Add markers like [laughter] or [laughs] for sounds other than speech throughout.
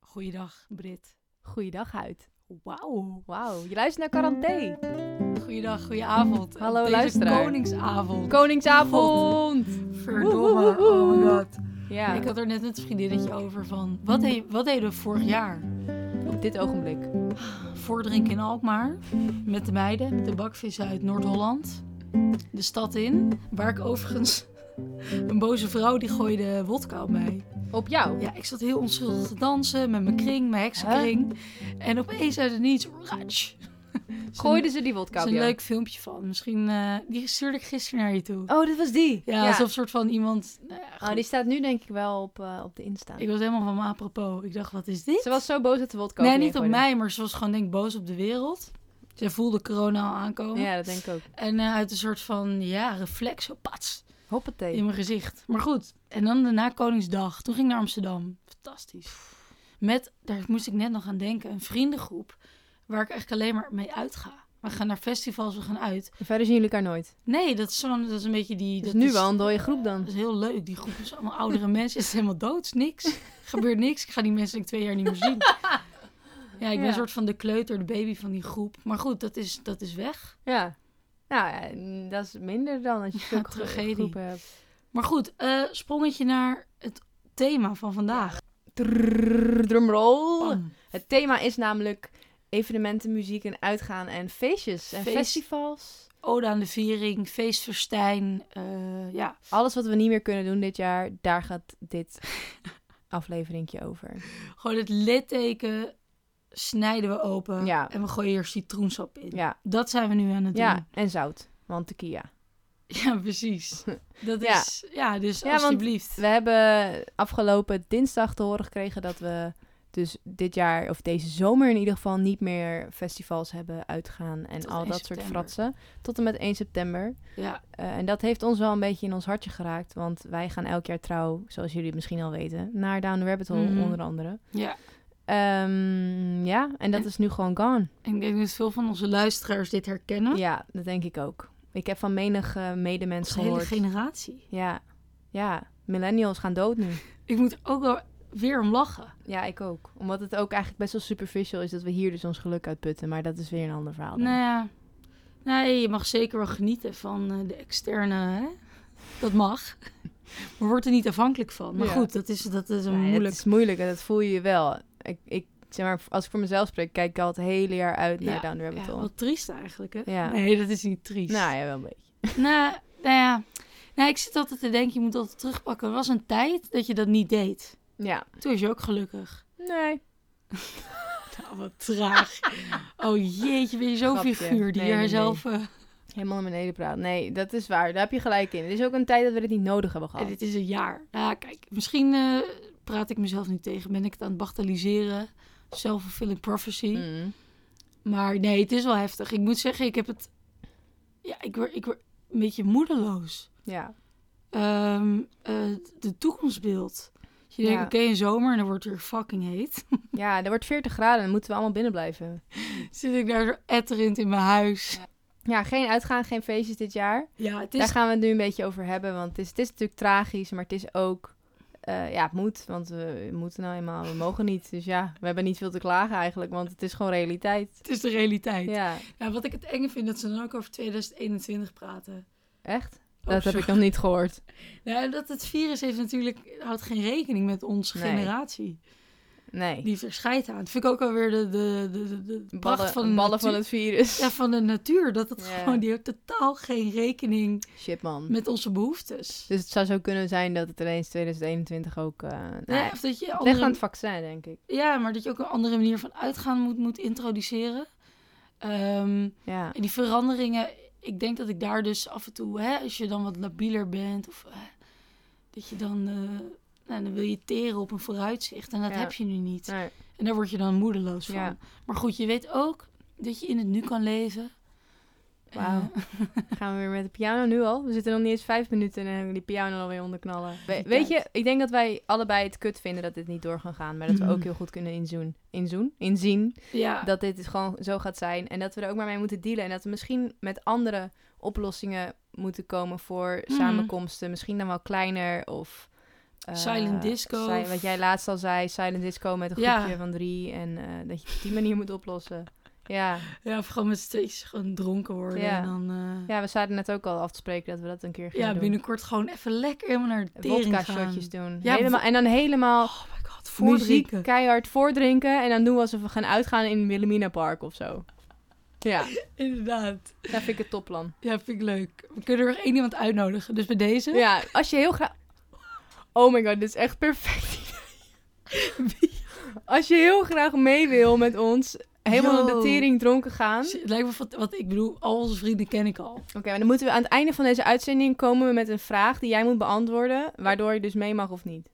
Goeiedag, Brit. Goeiedag uit. Wauw. Wauw, je luistert naar Quaranté. Goeiedag, goeie avond. Hallo, Deze luisteraar. Koningsavond. Koningsavond! Verdomme. Woehoehoe. Oh my god. Ja, Ik had er net met een vriendinnetje over van. Wat, he- wat deden we vorig jaar? op dit ogenblik. Voordrinken in Alkmaar. Met de meiden, met de bakvissen uit Noord-Holland. De stad in. Waar ik overigens. [laughs] Een boze vrouw die gooide wodka op mij. Op jou? Ja, ik zat heel onschuldig te dansen met mijn kring, mijn heksenkring. En opeens uit het niets, ratsch. Gooiden ze die wodka Er op is een jou? leuk filmpje van. Misschien, eh, die stuurde ik gisteren naar je toe. Oh, dit was die? ja, alsof een soort van iemand... nou ja, Oh, die staat nu denk ik wel op, eh, op de Insta. Ik was helemaal van me apropos. Ik dacht, wat is dit? Ze was zo boos dat de wodka nee, je niet op gooide. mij, maar ze was gewoon denk ik boos op de wereld. Ze voelde corona al aankomen. Ja, dat denk ik ook. En eh, uit een soort van, ja, reflex, zo pats, Hoppatee. in mijn gezicht. Maar goed, en dan de na Koningsdag. Toen ging ik naar Amsterdam. Fantastisch. Met, daar moest ik net nog aan denken, een vriendengroep. Waar ik eigenlijk alleen maar mee uitga. We gaan naar festivals, we gaan uit. Verder zien jullie elkaar nooit. Nee, dat is, zo'n, dat is een beetje die... Dus dat nu is- wel een dode groep dan. Dat is heel leuk. Die groep is allemaal oudere [laughs] mensen. Het is helemaal doods. Niks. Gebeurt niks. Ik ga die mensen denk ik twee jaar niet meer zien. Ja, ik ben Ja. een soort van de kleuter, de baby van die groep. Maar goed, dat is, dat is weg. Ja. Nou, ja, mm, dat is minder dan als je veel gro- tragedie. groepen hebt. Maar goed, eh, sprongetje naar het thema van vandaag. Trrrr, drumroll. Bam. Het thema is namelijk evenementen, muziek en uitgaan en feestjes en Feest- festivals. Ode aan de viering, feestverstijn. eh, ja, Alles wat we niet meer kunnen doen dit jaar, daar gaat dit [laughs] afleveringje over. gewoon het litteken snijden we open. Ja. En we gooien er citroensap in. Ja, Dat zijn we nu aan het doen. [laughs] ja en zout, want tequila. Ja, precies. Dat Ja. is, ja, dus Ja, want- alsjeblieft. We hebben afgelopen dinsdag te horen gekregen dat we dus dit jaar, of deze zomer in ieder geval, niet meer festivals hebben uitgaan en Tot al 1 dat soort september. fratsen. Tot en met 1 september. Ja, Eh, en dat heeft ons wel een beetje in ons hartje geraakt, want wij gaan elk jaar trouw, zoals jullie het misschien al weten, naar Down the Rabbit Hole Mhm. onder andere. ja. Ehm, ja, en dat En- is nu gewoon gone. Ik denk dat veel van onze luisteraars dit herkennen. Ja, dat denk ik ook. Ik heb van menig eh, medemens Onze hele gehoord. generatie. Ja, ja. Millennials gaan dood nu. Ik moet er ook wel weer om lachen. Ja, ik ook. Omdat het ook eigenlijk best wel superficial is dat we hier dus ons geluk uitputten. Maar dat is weer een ander verhaal. dan. Nou ja, nee, je mag zeker wel genieten van eh, de externe. Hè? Dat mag. [laughs] Maar word er niet afhankelijk van. Maar Ja. goed, dat is, dat is een Nee, moeilijk. Het is moeilijk en dat voel je wel. Ik, ik, zeg maar, als ik voor mezelf spreek, kijk ik al het hele jaar uit naar Ja, Down the Rabbit Ja, Hole. wat triest eigenlijk, hè? Ja. Nee, dat is niet triest. Nou ja, wel een beetje. Nou, nou ja. Nou, ik zit altijd te denken, je moet altijd terugpakken. Er was een tijd dat je dat niet deed. Ja. Toen was je ook gelukkig. Nee. Nou, wat [laughs] traag. Oh jeetje, ben je zo'n Grapje. figuur die Nee, nee, jezelf... eh, Helemaal naar beneden praten. Nee, dat is waar. Daar heb je gelijk in. Het is ook een tijd dat we dit niet nodig hebben En gehad. dit is een jaar. Nou Ja, kijk, misschien eh, praat ik mezelf nu tegen. Ben ik het aan het bagatelliseren? Self-fulfilling prophecy. Mm. Maar nee, het is wel heftig. Ik moet zeggen, ik heb het... Ja, ik word, ik word een beetje moedeloos. Ja. Ehm, eh, de toekomstbeeld. Dus je denkt, Ja. oké, een zomer en dan wordt het weer fucking heet. [laughs] ja, er wordt 40 graden en dan moeten we allemaal binnen blijven. Zit ik daar zo etterend in mijn huis. Ja, geen uitgaan, geen feestjes dit jaar. Ja, het Daar is... gaan we het nu een beetje over hebben. Want het is, het is natuurlijk tragisch, maar het is ook... eh, ja, het moet, want we moeten nou eenmaal. We mogen niet. Dus ja, we hebben niet veel te klagen eigenlijk, want het is gewoon realiteit. Het is de realiteit. Ja, Ja, wat ik het enge vind, dat ze dan ook over 2021 praten. echt? Oh, Dat heb sorry. ik nog niet gehoord. Nou, dat het virus heeft natuurlijk, houdt geen rekening met onze Nee. generatie. Nee. Die verscheidt aan. Dat vind ik ook alweer de, de, de, de, de pracht Ballen, van, de ballen natuur- van het virus. ja, van de natuur. Dat het Ja. gewoon, die heeft totaal geen rekening Shit, man. met onze behoeftes. Dus het zou zo kunnen zijn dat het ineens 2021 ook... eh nou, Ja, of dat je ligt aan andere, het vaccin, denk ik. ja, maar dat je ook een andere manier van uitgaan moet, moet introduceren. Ehm, Ja. en die veranderingen, ik denk dat ik daar dus af en toe, hè, als je dan wat labieler bent, of eh, dat je dan, eh, nou, dan wil je teren op een vooruitzicht. En dat Ja. heb je nu niet. Nee. En daar word je dan moedeloos van. Ja. Maar goed, je weet ook dat je in het nu kan leven. Wauw. Eh, [laughs] [laughs] Gaan we weer met de piano nu al? We zitten nog niet eens vijf minuten en hebben we die piano alweer onderknallen. We- Die weet je, tijd. ik denk dat wij allebei het kut vinden dat dit niet door gaan gaan. Maar dat we Mhm. [laughs] ook heel goed kunnen inzoen, inzoen, inzien ja, dat dit het gewoon zo gaat zijn. En dat we er ook maar mee moeten dealen. En dat we misschien met andere oplossingen moeten komen voor Mhm. samenkomsten. Misschien dan wel kleiner of... eh, Silent disco. si- wat jij laatst al zei, silent disco met een Ja. groepje van drie. En eh, dat je het op die manier moet oplossen. Ja. Ja, of gewoon met z'n tweetjes gewoon dronken worden. Ja. En dan, eh, ja, ja, we zouden net ook al af te spreken dat we dat een keer gaan doen. binnenkort gewoon even lekker helemaal naar de tering Wodka gaan. shotjes doen. Ja, helemaal, en dan helemaal Oh my god, muziek voordrinken. keihard voordrinken. En dan doen we alsof we gaan uitgaan in Wilhelmina Park of zo. Ja, Inderdaad. dat vind ik het topplan. Ja, vind ik leuk. We kunnen er nog één iemand uitnodigen. Dus bij deze. Ja, als je heel graag... Oh my god, dit is echt perfect. [laughs] Als je heel graag mee wil met ons, helemaal Yo. de tering dronken gaan. Dus Het lijkt me wat, wat ik bedoel, al onze vrienden ken ik al. Oké, maar dan moeten we aan het einde van deze uitzending komen we met een vraag die jij moet beantwoorden, waardoor je dus mee mag of niet.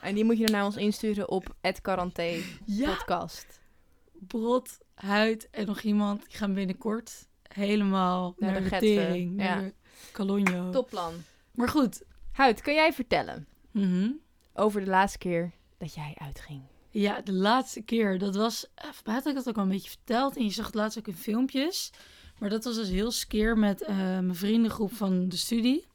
En die moet je dan naar ons insturen op het quarantaine Ja, podcast. Brot, Huid en nog iemand. Die gaan binnenkort helemaal Naar naar, de de, Getve, tering. ja. Naar de Calogno. Topplan. Maar goed. Huid, kun jij vertellen Mhm. over de laatste keer dat jij uitging? Ja, de laatste keer. Dat was... eh, Volgens mij had ik dat ook al een beetje verteld. En je zag het laatst ook in filmpjes. Maar dat was dus heel skeer met eh, mijn vriendengroep van de studie.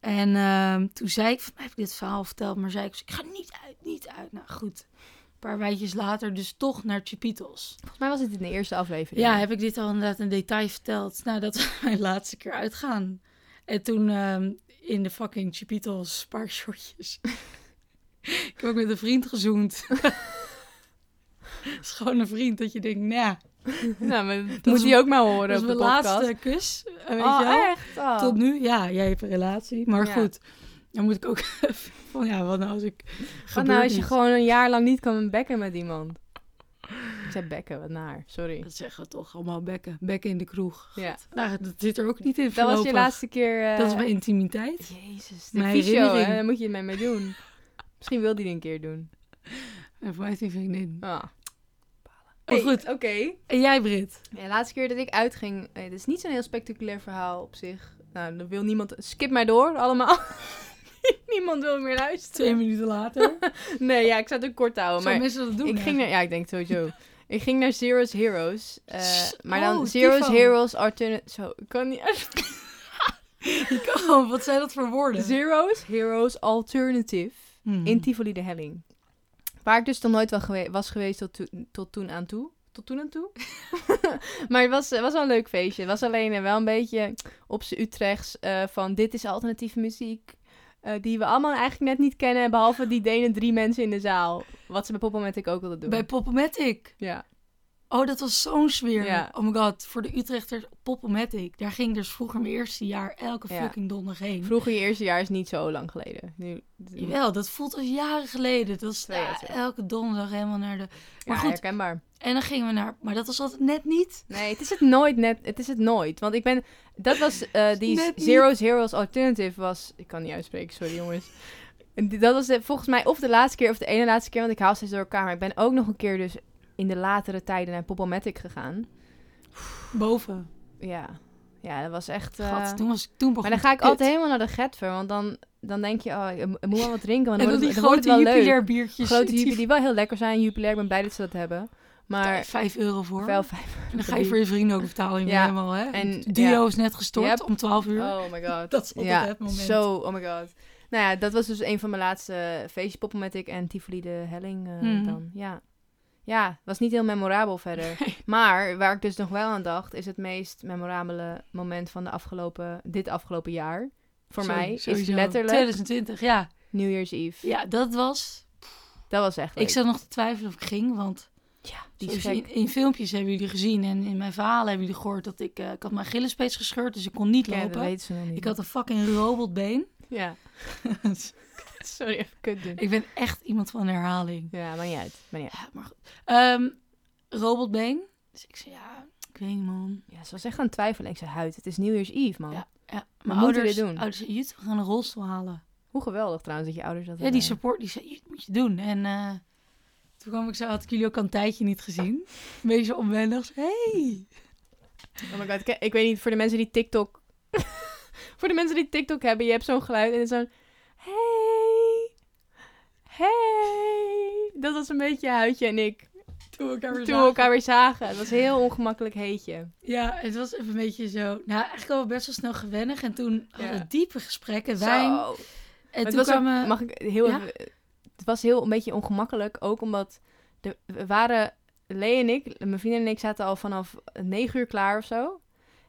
En ehm, toen zei ik... Volgens mij heb ik dit verhaal verteld. Maar zei ik, ik ga niet uit, niet uit. Nou goed. Een paar wijtjes later dus toch naar Chipitos. Volgens mij was het in de eerste aflevering. Ja, heb ik dit al inderdaad in detail verteld? Nou, dat was [laughs] mijn laatste keer uitgaan. En toen ehm, in de fucking Chipitos spaarshotjes. [laughs] ik heb ook met een vriend gezoend. [laughs] Het is gewoon een vriend dat je denkt, nou, ja, nou, maar dat Dat moet is- hij ook maar horen dat is op de mijn podcast. laatste kus. eh, Weet oh, je wel? echt? Oh. Tot nu, ja, jij hebt een relatie. Maar Ja. goed, dan moet ik ook [laughs] even van, ja, wat nou als ik Wat gebeurt nou als je niet? gewoon een jaar lang niet kan bekken met iemand? Ik zei bekken, wat naar. Sorry. Dat zeggen we toch allemaal bekken. Bekken in de kroeg. Ja. Nou, dat zit er ook niet in Dat was je voorlopig. laatste keer... eh, Dat is mijn intimiteit. Jezus, de Mijn fysio, hè? herinnering. Daar moet je het mee mee doen. Misschien wil die het een keer doen. En voor mij is die vriendin. Ah. Maar Hey, goed, Oké. en jij Brit? Ja, de laatste keer dat ik uitging, eh, het is niet zo'n heel spectaculair verhaal op zich. Nou, dan wil niemand. Skip mij door, allemaal. [laughs] niemand wil meer luisteren. Twee minuten [laughs] later. Nee, ja, ik zat het kort te houden. Zou Oh, Maar mensen dat doen? ik ging eigenlijk? naar. Ja, ik denk sowieso. ik ging naar Zero's Heroes. eh, S- maar dan oh, Zero's tyfo. Heroes Alternate. Zo, ik kan niet. uit- [laughs] Oh, wat zijn dat voor woorden? Zero's Heroes Alternative Hmm. in Tivoli de Helling. Waar ik dus nog nooit wel gewe- was geweest tot, toe- tot toen aan toe. Tot toen aan [laughs] toe. [laughs] maar het was, eh, was wel een leuk feestje. Het was alleen eh, wel een beetje op z'n Utrechts eh, van dit is alternatieve muziek. eh, die we allemaal eigenlijk net niet kennen, behalve die denen drie mensen in de zaal. Wat ze bij Poppel met ik ook wilden doen. Bij Poppelmatic. Ja. Oh, dat was zo'n sfeer. Ja. Oh my god, voor de Utrechters Poppelmatic. Daar ging ik dus vroeger mijn eerste jaar elke Ja. fucking donderdag heen. Vroeger je eerste jaar is niet zo lang geleden. Nu, Jawel, dat voelt als jaren geleden. Dat is Twee jaar ah, terug. elke donderdag helemaal naar de... Maar ja, goed, herkenbaar. en dan gingen we naar... Maar dat was altijd net niet. Nee, het is het nooit net. Het is het nooit. Want ik ben. Dat was eh, die Net niet. Zero's Heroes Alternative was. Ik kan niet uitspreken, sorry jongens. En die- Dat was de- volgens mij of de laatste keer of de ene laatste keer. Want ik haal steeds door elkaar. Maar ik ben ook nog een keer dus in de latere tijden naar Popomatic gegaan. Boven. Ja. Ja, dat was echt. eh, Gat, toen was ik toen maar begon dan ga ik kut. altijd helemaal naar de Getver. Want dan, dan denk je, oh, ik ik moet wel wat drinken. Want En dan dan, die wordt het, dan wordt grote het wel leuk. jupiler biertjes. Grote jupiler die wel heel lekker zijn. Jupiler, ik ben blij dat ze dat hebben. Maar Vijf euro voor. wel vijf. En dan ga je voor je vrienden ook betalen. Ja, Ja. Helemaal, hè? en- Duo ja. is net gestort Yep. om 12 uur. Oh my [laughs] god. Dat is altijd ja, het moment. Zo, oh my god. Nou ja, dat was dus een van mijn laatste feestjes, Poppelmatic en Tivoli de Helling eh, Mhm. dan. Ja. ja, was niet heel memorabel verder. [laughs] Nee. Maar waar ik dus nog wel aan dacht, is het meest memorabele moment van de afgelopen, dit afgelopen jaar. Voor Zo- mij is sowieso. letterlijk 2020, ja. New Year's Eve. Ja, dat was... Dat was echt leuk. Ik zat nog te twijfelen of ik ging, want Ja, die is zoals gek. in, in filmpjes hebben jullie gezien en in mijn verhalen hebben jullie gehoord dat ik... eh, ik had mijn Achillespees gescheurd, dus ik kon niet Ja, dat lopen. weten ze nog niet. ik had een fucking [laughs] robotbeen. Ja. [laughs] Sorry, even kut doen. ik ben echt iemand van herhaling. Ja, maakt niet uit. Maakt niet uit. Ja, maar goed. Ehm, robotbeen. Dus ik zei, ja, ik weet niet, man. Ja, ze was echt aan het twijfelen. Ik zei, huid, het is New Year's Eve, man. Ja, ja. moeten Mijn ouders, dit doen? ouders zeiden, "Jut, we gaan een rolstoel halen. Hoe geweldig trouwens dat je ouders dat Ja, die hebben. support die zei, dit moet je doen. En eh, toen kwam ik zo, had ik jullie ook al een tijdje niet gezien. Een beetje onwennig. hey. Oh my god, ik, ik weet niet, voor de mensen die TikTok... [laughs] voor de mensen die TikTok hebben, je hebt zo'n geluid en het is zo'n... Hey, hey. Dat was een beetje Huidje en ik, Toen we elkaar weer toen we zagen. elkaar weer zagen. Het was een heel ongemakkelijk heetje. Ja, het was even een beetje zo. Nou, eigenlijk al best wel snel gewennig. En toen hadden Ja. we diepe gesprekken, wijn. Zo. En Maar toen het was ook- kwamen... mag ik heel ja? even- het was heel een beetje ongemakkelijk, ook omdat de, we waren Lee en ik, mijn vriendin en ik zaten al vanaf negen uur klaar of zo.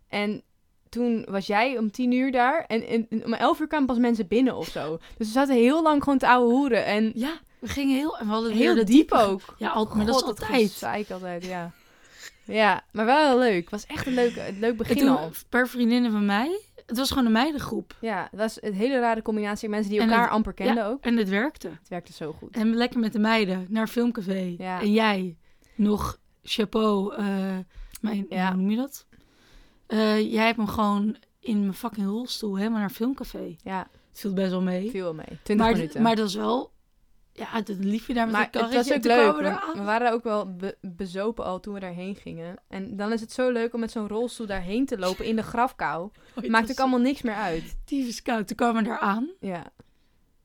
En toen was jij om tien uur daar en, en om elf uur kwamen pas mensen binnen of [laughs] zo. Dus we zaten heel lang gewoon te ouwe hoeren en Ja, we gingen heel... En we hadden weer heel de diep diepe- ook. Ja, al, maar dat is God, altijd. gezeik altijd, ja. Ja, maar wel heel leuk. Het was echt een leuk, een leuk En begin al. toen, per vriendinnen van mij... Het was gewoon een meidengroep. Ja, het was een hele rare combinatie. Mensen die En elkaar het- amper kenden ook. En het werkte. Het werkte zo goed. En lekker met de meiden naar filmcafé. Ja. En jij nog chapeau. eh, mijn, Ja. Hoe noem je dat? Eh, jij hebt hem gewoon in mijn fucking rolstoel helemaal naar filmcafé. Ja, Het viel best wel mee. viel wel mee. 20 maar, minuten. maar dat was wel... Ja, dat liep je daar met Maar een het karretje. was en ook toen kwamen we leuk. We, eraan. we waren ook wel be- bezopen al toen we daarheen gingen. En dan is het zo leuk om met zo'n rolstoel daarheen te lopen in de [laughs] grafkou. Oh, het Maakt was ook allemaal niks meer uit. tyfus koud. Toen kwamen we eraan. Ja,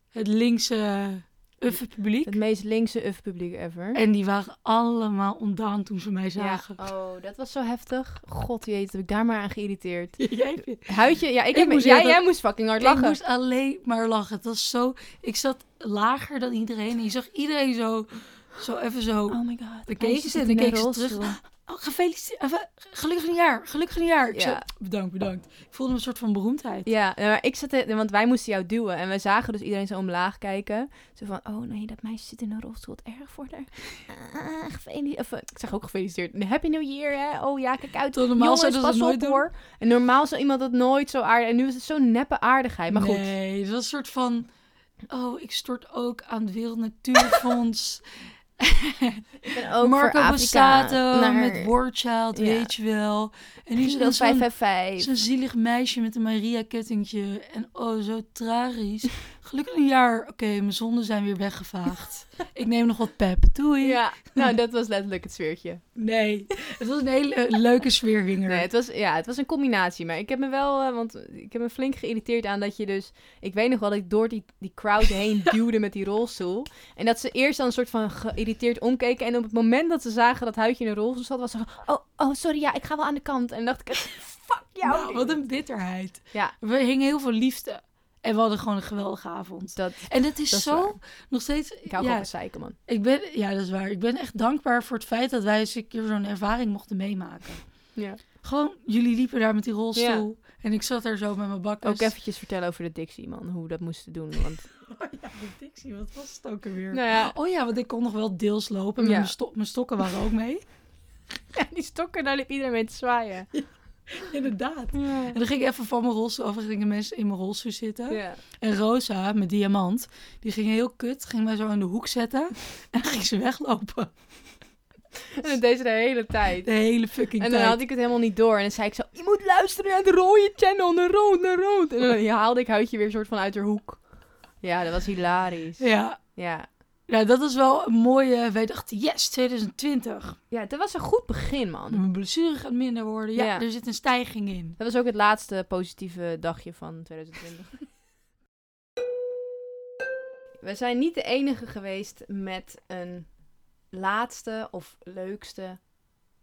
Het linkse eh, uffe publiek. het meest linkse uf publiek ever. En die waren allemaal ontdaan toen ze mij Ja, zagen. oh, dat was zo heftig. God jeet, heb ik daar maar aan geïrriteerd. [laughs] Jij vindt- Huidje, ja, ik, Ik heb, moest jij, heel erg- jij moest fucking hard Ik lachen. moest alleen maar lachen. Het was zo... Ik zat lager dan iedereen. En je zag iedereen zo... Zo even zo... Oh my god. Dan keek ze en dan keek ze Oh, gefeliciteerd. Even, gelukkig nieuwjaar. Gelukkig nieuwjaar. Ik Ja. zo, bedankt, bedankt. Ik voelde me een soort van beroemdheid. Ja, ja, maar ik zat, er- want wij moesten jou duwen en we zagen dus iedereen zo omlaag kijken. Zo van, oh nee, dat meisje zit in een rolstoel, wat erg voor haar. Ah, gefeli- of, eh, ik zeg ook gefeliciteerd. Happy New Year, hè? Oh ja, kijk uit. Terwijl normaal Jongens, zouden ze pas dat nooit op doen. hoor. En normaal zou iemand dat nooit zo aardig. En nu is het zo'n neppe aardigheid. Maar goed, Nee, het was een soort van... Oh, ik stort ook aan het Wereld Natuurfonds. ik ben ook voor Marco Afrika Bussato naar met War Child, Ja. weet je wel. En nu is Guido er zo'n 555. Zo'n zielig meisje met een Maria-kettingje. En oh, zo tragisch. Gelukkig een jaar. Oké, mijn zonden zijn weer weggevaagd. Ik neem nog wat pep. Doei. Ja, nou dat was letterlijk het sfeertje. Nee, het was een hele eh, leuke sfeerhinger. Nee, het was, ja, het was een combinatie. Maar ik heb me wel, eh, want ik heb me flink geïrriteerd aan dat je dus... Ik weet nog wel dat ik door die, die [laughs] crowd heen duwde met die rolstoel. En dat ze eerst dan een soort van geïrriteerd omkeken. En op het moment dat ze zagen dat Huidje in een rolstoel zat, was ze van... Oh, oh, sorry, ja, ik ga wel aan de kant. En dan dacht ik, fuck jou. Nou, wat een bitterheid. Ja. We hingen heel veel liefde. En we hadden gewoon een geweldige avond. Dus Dat, En het is, Dat is zo waar. nog steeds. ik hou ja, gewoon van zeiken, man. ik ben, ja, dat is waar. Ik ben echt dankbaar voor het feit dat wij eens een keer zo'n ervaring mochten meemaken. Ja. Gewoon, jullie liepen daar met die rolstoel. En ik zat daar zo met mijn bakkers. Ook eventjes vertellen over de Dixie, man. Hoe we dat moesten doen. Want, Ja, de Dixie, wat was het ook alweer? nou [laughs] ja, Oh ja, want ik kon nog wel deels lopen. Ja. maar Mijn, sto- mijn stokken waren ook mee. die stokken, daar liep iedereen mee te zwaaien. [laughs] Inderdaad. Ja. En dan ging ik even van mijn rolstoel af en gingen mensen in mijn rolstoel zitten. Ja. En Rosa, met diamant, die ging heel kut. Ging mij zo in de hoek zetten. [laughs] En ging ze weglopen. En dat deed ze de hele tijd. De hele fucking En dan tijd. had ik het helemaal niet door. En dan zei ik zo, je moet luisteren naar de rode channel, naar rood, naar rood. En dan [laughs] haalde ik Huidje weer soort van uit haar hoek. Ja, dat was hilarisch. Ja. Ja, ja, dat is wel een mooie... Wij dachten, yes, 2020. ja dat was een goed begin, man. Mijn blessure gaat minder worden. Ja, Ja. er zit een stijging in. Dat was ook het laatste positieve dagje van 2020. [laughs] We zijn niet de enige geweest met een laatste of leukste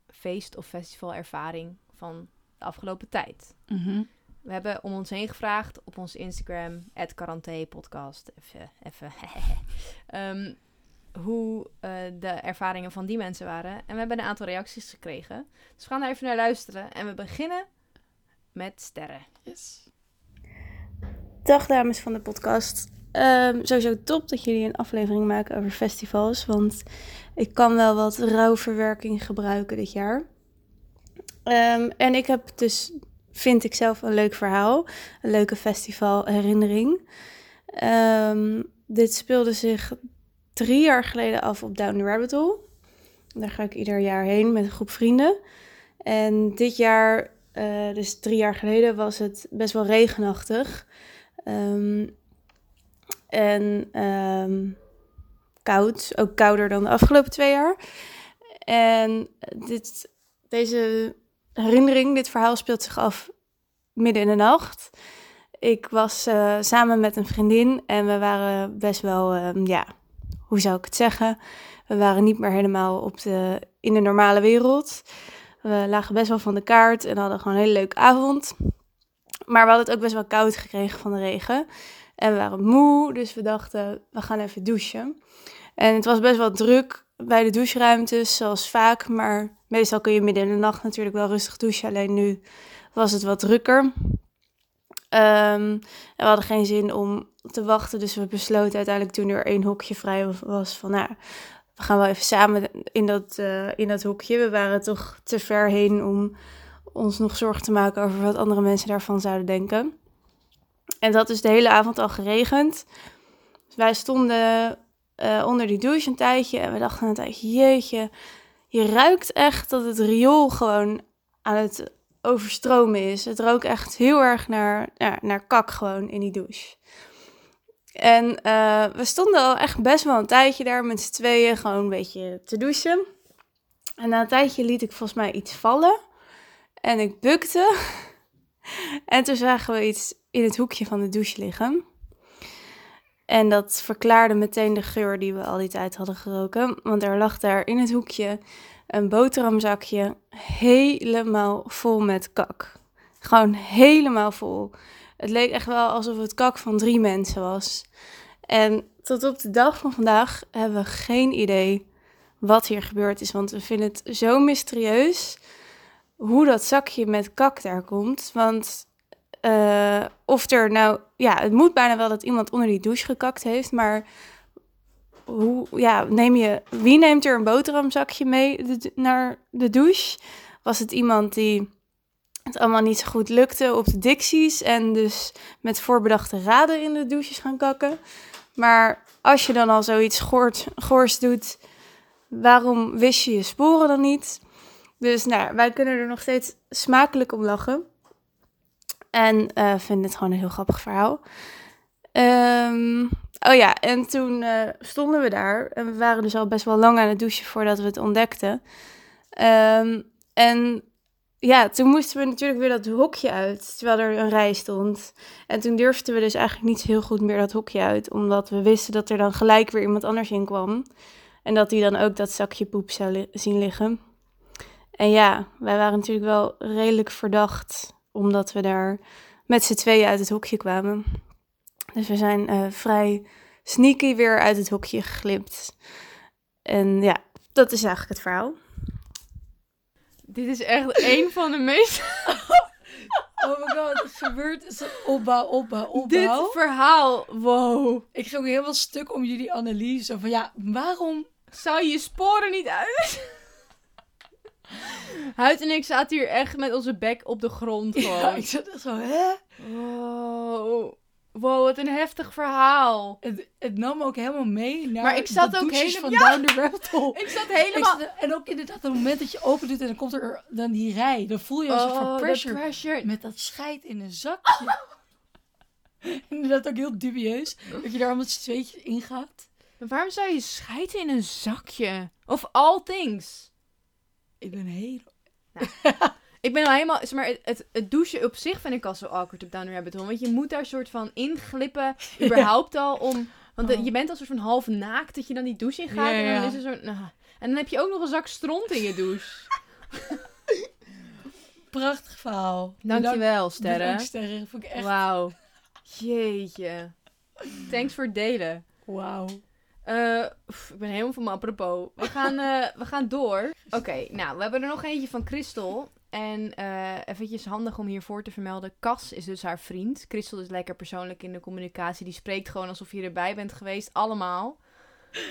feest- of festivalervaring van de afgelopen tijd. Mhm. We hebben om ons heen gevraagd op ons Instagram, @quarantépodcast. Even, even. [laughs] Ehm, hoe eh, de ervaringen van die mensen waren. En we hebben een aantal reacties gekregen. Dus we gaan daar even naar luisteren. En we beginnen met sterren. Yes. Dag dames van de podcast. Ehm, sowieso top dat jullie een aflevering maken over festivals. Want ik kan wel wat rouwverwerking gebruiken dit jaar. Ehm, en ik heb dus, vind ik zelf, een leuk verhaal. Een leuke festivalherinnering. Ehm, dit speelde zich drie jaar geleden af op Down the Rabbit Hole. Daar ga ik ieder jaar heen met een groep vrienden. En dit jaar, eh, dus drie jaar geleden, was het best wel regenachtig. Ehm, en ehm, koud, ook kouder dan de afgelopen twee jaar. En dit, deze herinnering, dit verhaal speelt zich af midden in de nacht. Ik was eh, samen met een vriendin en we waren best wel, ehm, ja, hoe zou ik het zeggen? We waren niet meer helemaal op de, in de normale wereld. We lagen best wel van de kaart en hadden gewoon een hele leuke avond. Maar we hadden het ook best wel koud gekregen van de regen. En we waren moe, dus we dachten, we gaan even douchen. En het was best wel druk bij de doucheruimtes, zoals vaak. Maar meestal kun je midden in de nacht natuurlijk wel rustig douchen. Alleen nu was het wat drukker. Ehm, en we hadden geen zin om te wachten. Dus we besloten uiteindelijk toen er één hokje vrij was van... Nou, we gaan wel even samen in dat, eh, in dat hokje. We waren toch te ver heen om ons nog zorgen te maken over wat andere mensen daarvan zouden denken. En het had dus de hele avond al geregend. Dus wij stonden eh, onder die douche een tijdje en we dachten een tijdje, jeetje, je ruikt echt dat het riool gewoon aan het overstromen is. Het rook echt heel erg naar, ja, naar kak gewoon in die douche. En eh, we stonden al echt best wel een tijdje daar met z'n tweeën gewoon een beetje te douchen. En na een tijdje liet ik volgens mij iets vallen. En ik bukte. En toen zagen we iets in het hoekje van de douche liggen. En dat verklaarde meteen de geur die we al die tijd hadden geroken. Want er lag daar in het hoekje een boterhamzakje helemaal vol met kak. Gewoon helemaal vol. Het leek echt wel alsof het kak van drie mensen was. En tot op de dag van vandaag hebben we geen idee wat hier gebeurd is. Want we vinden het zo mysterieus hoe dat zakje met kak daar komt. Want eh, of er nou... Ja, het moet bijna wel dat iemand onder die douche gekakt heeft. Maar hoe, ja, neem je, wie neemt er een boterhamzakje mee de- naar de douche? Was het iemand die het allemaal niet zo goed lukte op de dicties... en dus met voorbedachte raden in de douches gaan kakken? Maar als je dan al zoiets goort, goors doet... waarom wist je je sporen dan niet? Dus nou, ja, wij kunnen er nog steeds smakelijk om lachen. En eh, vinden het gewoon een heel grappig verhaal. Ehm, oh ja, en toen eh, stonden we daar. En we waren dus al best wel lang aan het douchen voordat we het ontdekten. Ehm, en ja, toen moesten we natuurlijk weer dat hokje uit, terwijl er een rij stond. En toen durfden we dus eigenlijk niet zo heel goed meer dat hokje uit, omdat we wisten dat er dan gelijk weer iemand anders in kwam. En dat die dan ook dat zakje poep zou li- zien liggen. En ja, wij waren natuurlijk wel redelijk verdacht, omdat we daar met z'n tweeën uit het hokje kwamen. Dus we zijn eh, vrij sneaky weer uit het hokje geglipt. En ja, dat is eigenlijk het verhaal. Dit is echt een van de [laughs] meest... Oh my god, het gebeurt is een opbouw, opbouw, opbouw. Dit verhaal, wow. Ik ging ook heel veel stuk om jullie analyse. Van ja, waarom? Zou je je sporen niet uit? [laughs] Huid en ik zaten hier echt met onze bek op de grond gewoon. Ja, [laughs] ik zat echt zo, hè? Wow. Wow, wat een heftig verhaal. Het, het nam ook helemaal mee naar Maar ik zat de ook douches helemaal- van Down the Rabbit Hole. Ik zat Ik helemaal... zat- en ook inderdaad, het moment dat je opendoet en dan komt er dan die rij. Dan voel je als een soort van Oh, dat pressure. pressure. Met dat scheid in een zakje. [laughs] inderdaad ook heel dubieus. Dat je daar allemaal z'n tweetjes in gaat. Maar Waarom zou je scheiden in een zakje? Of all things. Ik ben heel... Ik ben al helemaal... zeg Maar het, het, het douchen op zich vind ik al zo awkward op Down the Rabbit Hole. Want je moet daar soort van [laughs] inglippen. Überhaupt al om... Want de- Oh. je bent al soort van half naakt dat je dan die douche in gaat. Ja, en dan ja. is er zo'n... ah. En dan heb je ook nog een zak stront in je [laughs] douche. Prachtig verhaal. Dankjewel, Bedankt, Sterren. Sterren. Vond ik echt... Wauw. Jeetje. Thanks voor het delen. Wauw. Eh, pff, ik ben helemaal van mijn apropos. We gaan, eh, we gaan door. Oké, nou, we hebben er nog eentje van Christel. En eh eventjes handig om hiervoor te vermelden. Cas is dus haar vriend. Christel is lekker persoonlijk in de communicatie. Die spreekt gewoon alsof je erbij bent geweest. Allemaal.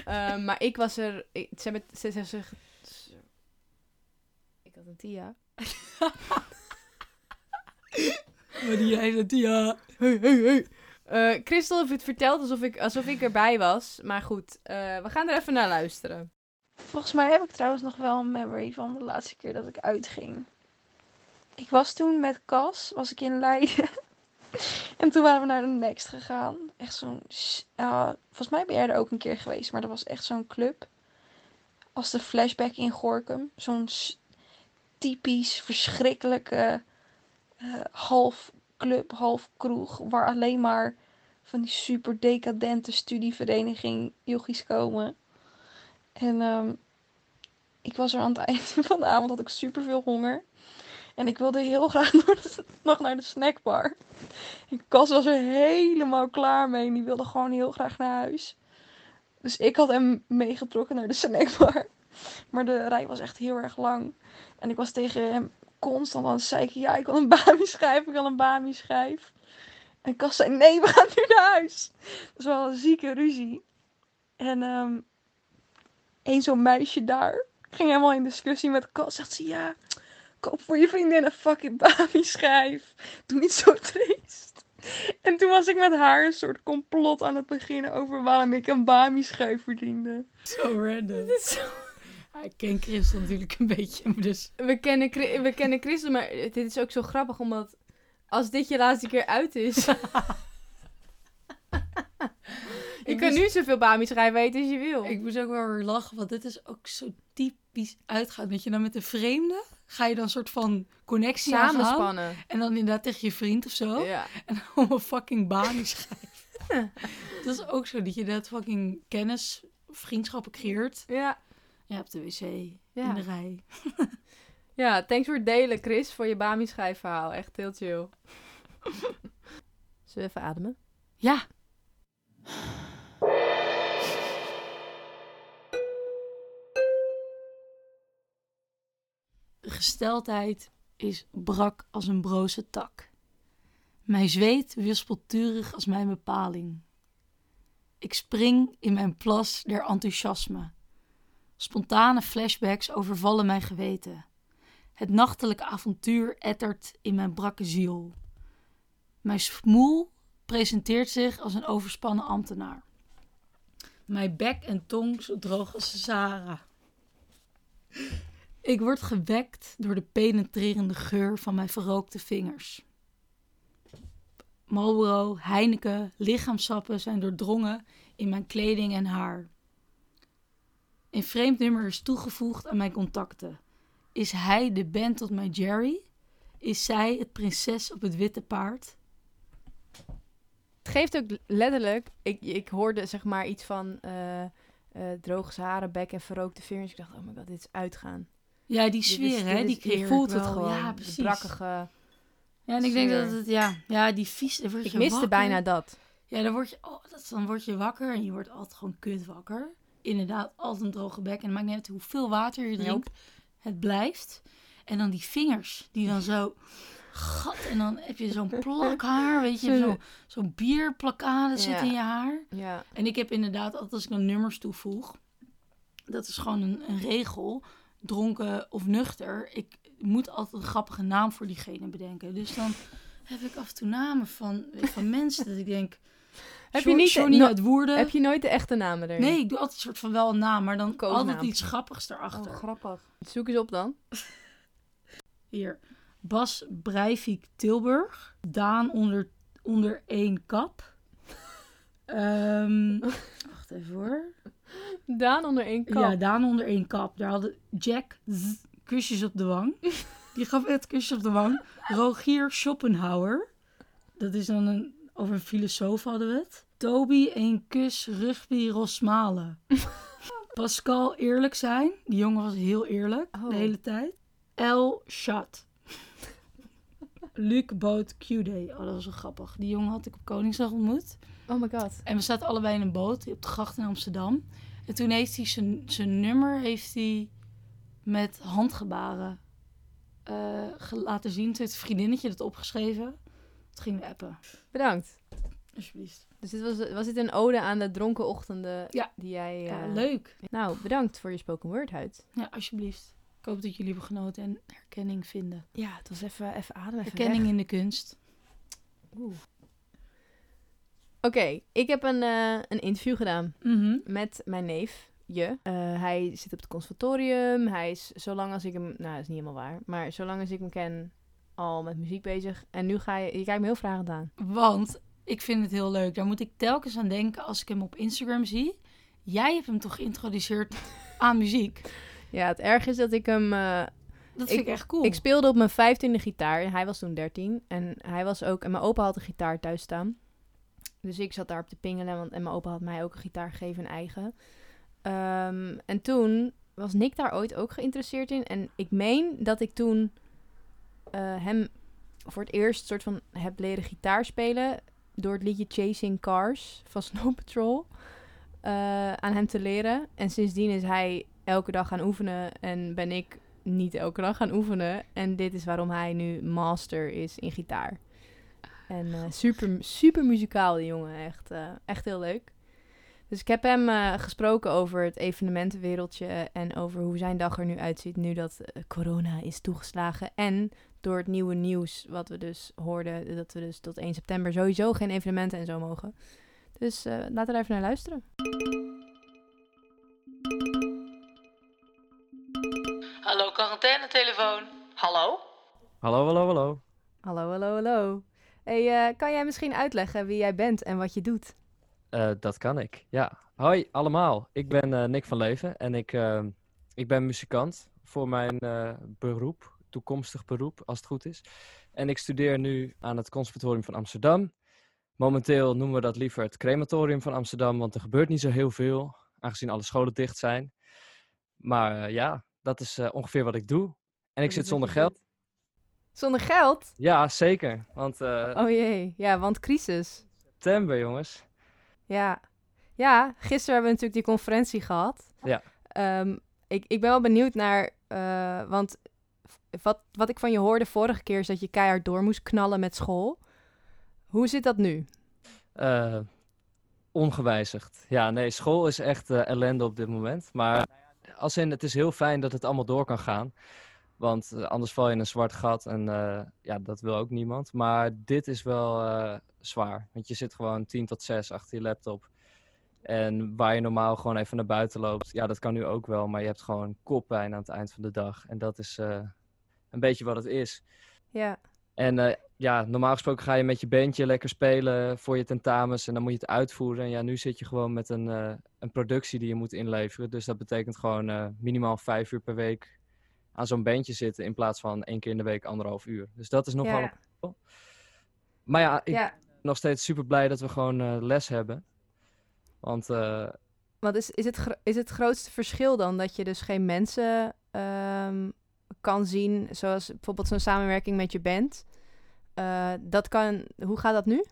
Eh, maar ik was er... Ik, ze hebben... Ze, ze, ze- ze- ik had een Tia. Maar die hele dia. Hey, hey, hey. Eh, Christel heeft het verteld alsof ik, alsof ik erbij was. Maar goed, eh, we gaan er even naar luisteren. Volgens mij heb ik trouwens nog wel een memory van de laatste keer dat ik uitging. Ik was toen met Cas, was ik in Leiden. [laughs] en toen waren we naar de Next gegaan. Echt zo'n... s- ah, volgens mij ben jij er ook een keer geweest, maar dat was echt zo'n club. Als de flashback in Gorkum. Zo'n s- typisch verschrikkelijke eh, half club, half kroeg. Waar alleen maar van die super decadente studievereniging jochies komen. [laughs] En ehm, ik was er aan het eind van de avond, had ik super veel honger. En ik wilde heel graag [laughs] nog de- nog naar de snackbar. En Cas was er helemaal klaar mee. En die wilde gewoon heel graag naar huis. Dus ik had hem meegetrokken naar de snackbar. [laughs] Maar de rij was echt heel erg lang. En ik was tegen hem constant aan het zeiken. Ja, ik wil een Bami schijf. Ik wil een Bami schijf. En Cas zei, nee, we gaan nu naar huis. Dat was wel een zieke ruzie. En ehm een zo'n meisje daar ging helemaal in discussie met Cas. Zegt ze, ja, koop voor je vriendin een fucking Bami schijf. Doe niet zo triest. En toen was ik met haar een soort complot aan het beginnen over waarom ik een Bami schijf verdiende. [laughs] Zo random. Ja, Ik ken Chris natuurlijk een beetje, maar dus... We kennen, Chri- we kennen Christel, maar dit is ook zo grappig, omdat als dit je laatste keer uit [laughs] is... je kan nu zoveel Bami schrijven eten als je wil. Ik moest ook wel weer lachen, want dit is ook zo typisch uitgaan. Dat je dan met een vreemde ga je dan een soort van connectie aangaan. Samenspannen. En dan inderdaad tegen je vriend of zo. Ja. [laughs] Om een fucking baan schrijft. [laughs] dat is ook zo, dat je dat fucking kennis, vriendschappen creëert. Ja. Ja, op de wc, Ja. in de rij. ja, thanks voor het delen, Chris, voor je Bami schrijfverhaal. Echt heel chill. [laughs] Zullen we even ademen? Ja, De gesteldheid is brak als een broze tak. Mijn zweet wispelt turig als mijn bepaling. Ik spring in mijn plas der enthousiasme. Spontane flashbacks overvallen mijn geweten. Het nachtelijke avontuur ettert in mijn brakke ziel. Mijn smoel presenteert zich als een overspannen ambtenaar. Mijn bek en tong zo droog als de Sahara. Ik word gewekt door de penetrerende geur van mijn verrookte vingers. Marlboro, Heineken, lichaamsappen zijn doordrongen in mijn kleding en haar. Een vreemd nummer is toegevoegd aan mijn contacten. Is hij de band tot mijn Jerry? Is zij het prinses op het witte paard? Het geeft ook letterlijk. Ik, ik hoorde zeg maar iets van eh eh droge haren, bek en verrookte vingers. Ik dacht, oh my god, dit is uitgaan. Ja, die Dit is- sfeer, dit hè? is- Die creëer je ik voelt het wel. gewoon. Ja, De precies. brakkige. Ja, en ik denk sfeer. dat het, ja, ja die vies. dan word Ik je miste wakker. bijna dat. Ja, dan word, je, oh, dat, dan word je wakker en je wordt altijd gewoon kut wakker. Inderdaad, altijd een droge bek. En het maakt niet uit hoeveel water je drinkt. Het blijft. En dan die vingers, die dan zo... Gat, en dan heb je [laughs] zo'n plak haar, weet je. Zo- Zo'n zo bierplakade zit Ja. in je haar. Ja. En ik heb inderdaad, altijd als ik dan nummers toevoeg, dat is gewoon een, een regel, dronken of nuchter. Ik moet altijd een grappige naam voor diegene bedenken. Dus dan heb ik af en toe namen van, [laughs] van mensen dat ik denk... Heb Jo- je niet- Johnny no- uit Woerden? Eh, Heb je nooit de echte namen erin? Nee, ik doe altijd een soort van wel een naam, maar dan Koosnaam. altijd iets grappigs erachter. Oh, grappig. Zoek eens op dan. Hier, Bas Breivik Tilburg. Daan onder, onder één [laughs] kap. Ehm, wacht even hoor. Daan onder één kap. Ja, Daan onder één kap. Daar hadden Jack zzz, kusjes op de [laughs] wang. Die gaf echt kusjes op de wang. Rogier Schopenhauer. Dat is dan een... Over een filosoof hadden we het. Toby, één kus, rugby, [laughs] Rosmalen. Pascal, eerlijk zijn. Die jongen was heel eerlijk Oh. de hele tijd. El Chat. [laughs] Luc Boot Q-Day. Oh, dat was wel grappig. Die jongen had ik op Koningsdag ontmoet. Oh my god. En we zaten allebei in een boot op de gracht in Amsterdam. En toen heeft hij zijn, zijn nummer heeft hij met handgebaren eh, ge- laten zien. Toen heeft een vriendinnetje dat opgeschreven. Toen gingen we appen. Bedankt. Alsjeblieft. Dus dit was, was dit een ode aan de dronken ochtenden Ja. die jij... Ja, eh, leuk. Nou, bedankt voor je spoken word, Huid. Ja, alsjeblieft. Ik hoop dat jullie hebben genoten en herkenning vinden. Ja, het was even, even ademen. even Herkenning in de kunst. weg. Oeh. Oké, ik heb een, eh, een interview gedaan. Mhm. met mijn neef, je. Eh, hij zit op het conservatorium. Hij is, zolang als ik hem... Nou, dat is niet helemaal waar. Maar zolang als ik hem ken, al met muziek bezig. En nu ga je... Je kijkt me heel vragend aan. Want ik vind het heel leuk. Daar moet ik telkens aan denken als ik hem op Instagram zie. Jij hebt hem toch geïntroduceerd aan muziek? Ja, het erg is dat ik hem... eh, Dat vind ik, Ik- echt cool. Ik speelde op mijn vijftiende gitaar. En hij was toen dertien. En hij was ook... En mijn opa had een gitaar thuis staan. Dus ik zat daar op te pingelen. Want, en mijn opa had mij ook een gitaar gegeven, een eigen. Ehm, en toen was Nick daar ooit ook geïnteresseerd in. En ik meen dat ik toen eh, hem voor het eerst soort van heb leren gitaar spelen door het liedje Chasing Cars van [laughs] Snow Patrol eh, aan hem te leren. En sindsdien is hij elke dag gaan oefenen en ben ik niet elke dag gaan oefenen. En dit is waarom hij nu master is in gitaar. En eh, super, super muzikaal, die jongen. Echt, eh, echt heel leuk. Dus ik heb hem eh, gesproken over het evenementenwereldje en over hoe zijn dag er nu uitziet nu dat eh, corona is toegeslagen. En door het nieuwe nieuws wat we dus hoorden, dat we dus tot 1 september sowieso geen evenementen en zo mogen. Dus eh, laten we daar even naar luisteren. Hallo, quarantainetelefoon. Hallo? Hallo, hallo, hallo. Hallo, hallo, hallo. Hey, eh, kan jij misschien uitleggen wie jij bent en wat je doet? Eh, dat kan ik, ja. Hoi allemaal, ik ben eh, Nick van Leven en ik, eh, ik ben muzikant voor mijn eh, beroep, toekomstig beroep als het goed is. En ik studeer nu aan het Conservatorium van Amsterdam. Momenteel noemen we dat liever het Crematorium van Amsterdam, want er gebeurt niet zo heel veel, aangezien alle scholen dicht zijn. Maar eh, ja, dat is eh, ongeveer wat ik doe. En ik is wat zit je zonder geld. doet. Zonder geld? Ja, zeker, want eh, Oh jee, ja, want crisis. september jongens. Ja. ja, gisteren hebben we natuurlijk die conferentie gehad. Ja. Ehm, ik, ik ben wel benieuwd naar, eh, want v- wat, wat ik van je hoorde vorige keer is dat je keihard door moest knallen met school. Hoe zit dat nu? Eh, ongewijzigd. Ja, nee, school is echt eh, ellende op dit moment. Maar nou als in, het is heel fijn dat het allemaal door kan gaan. Want eh, anders val je in een zwart gat en eh, ja, dat wil ook niemand. Maar dit is wel eh, zwaar. Want je zit gewoon 10 tot 6 achter je laptop. En waar je normaal gewoon even naar buiten loopt, ja, dat kan nu ook wel. Maar je hebt gewoon koppijn aan het eind van de dag. En dat is eh, een beetje wat het is. Ja, En eh, ja, normaal gesproken ga je met je bandje lekker spelen voor je tentamens en dan moet je het uitvoeren. En ja, nu zit je gewoon met een, eh, een productie die je moet inleveren. Dus dat betekent gewoon eh, minimaal vijf uur per week aan zo'n bandje zitten in plaats van één keer in de week anderhalf uur. Dus dat is nogal. Ja. een- Maar ja, ik ja. ben nog steeds super blij dat we gewoon eh, les hebben. Want eh, Want is, is, het, gro- is het grootste verschil dan dat je dus geen mensen ehm, kan zien, zoals bijvoorbeeld zo'n samenwerking met je band? Eh, dat kan, hoe gaat dat nu?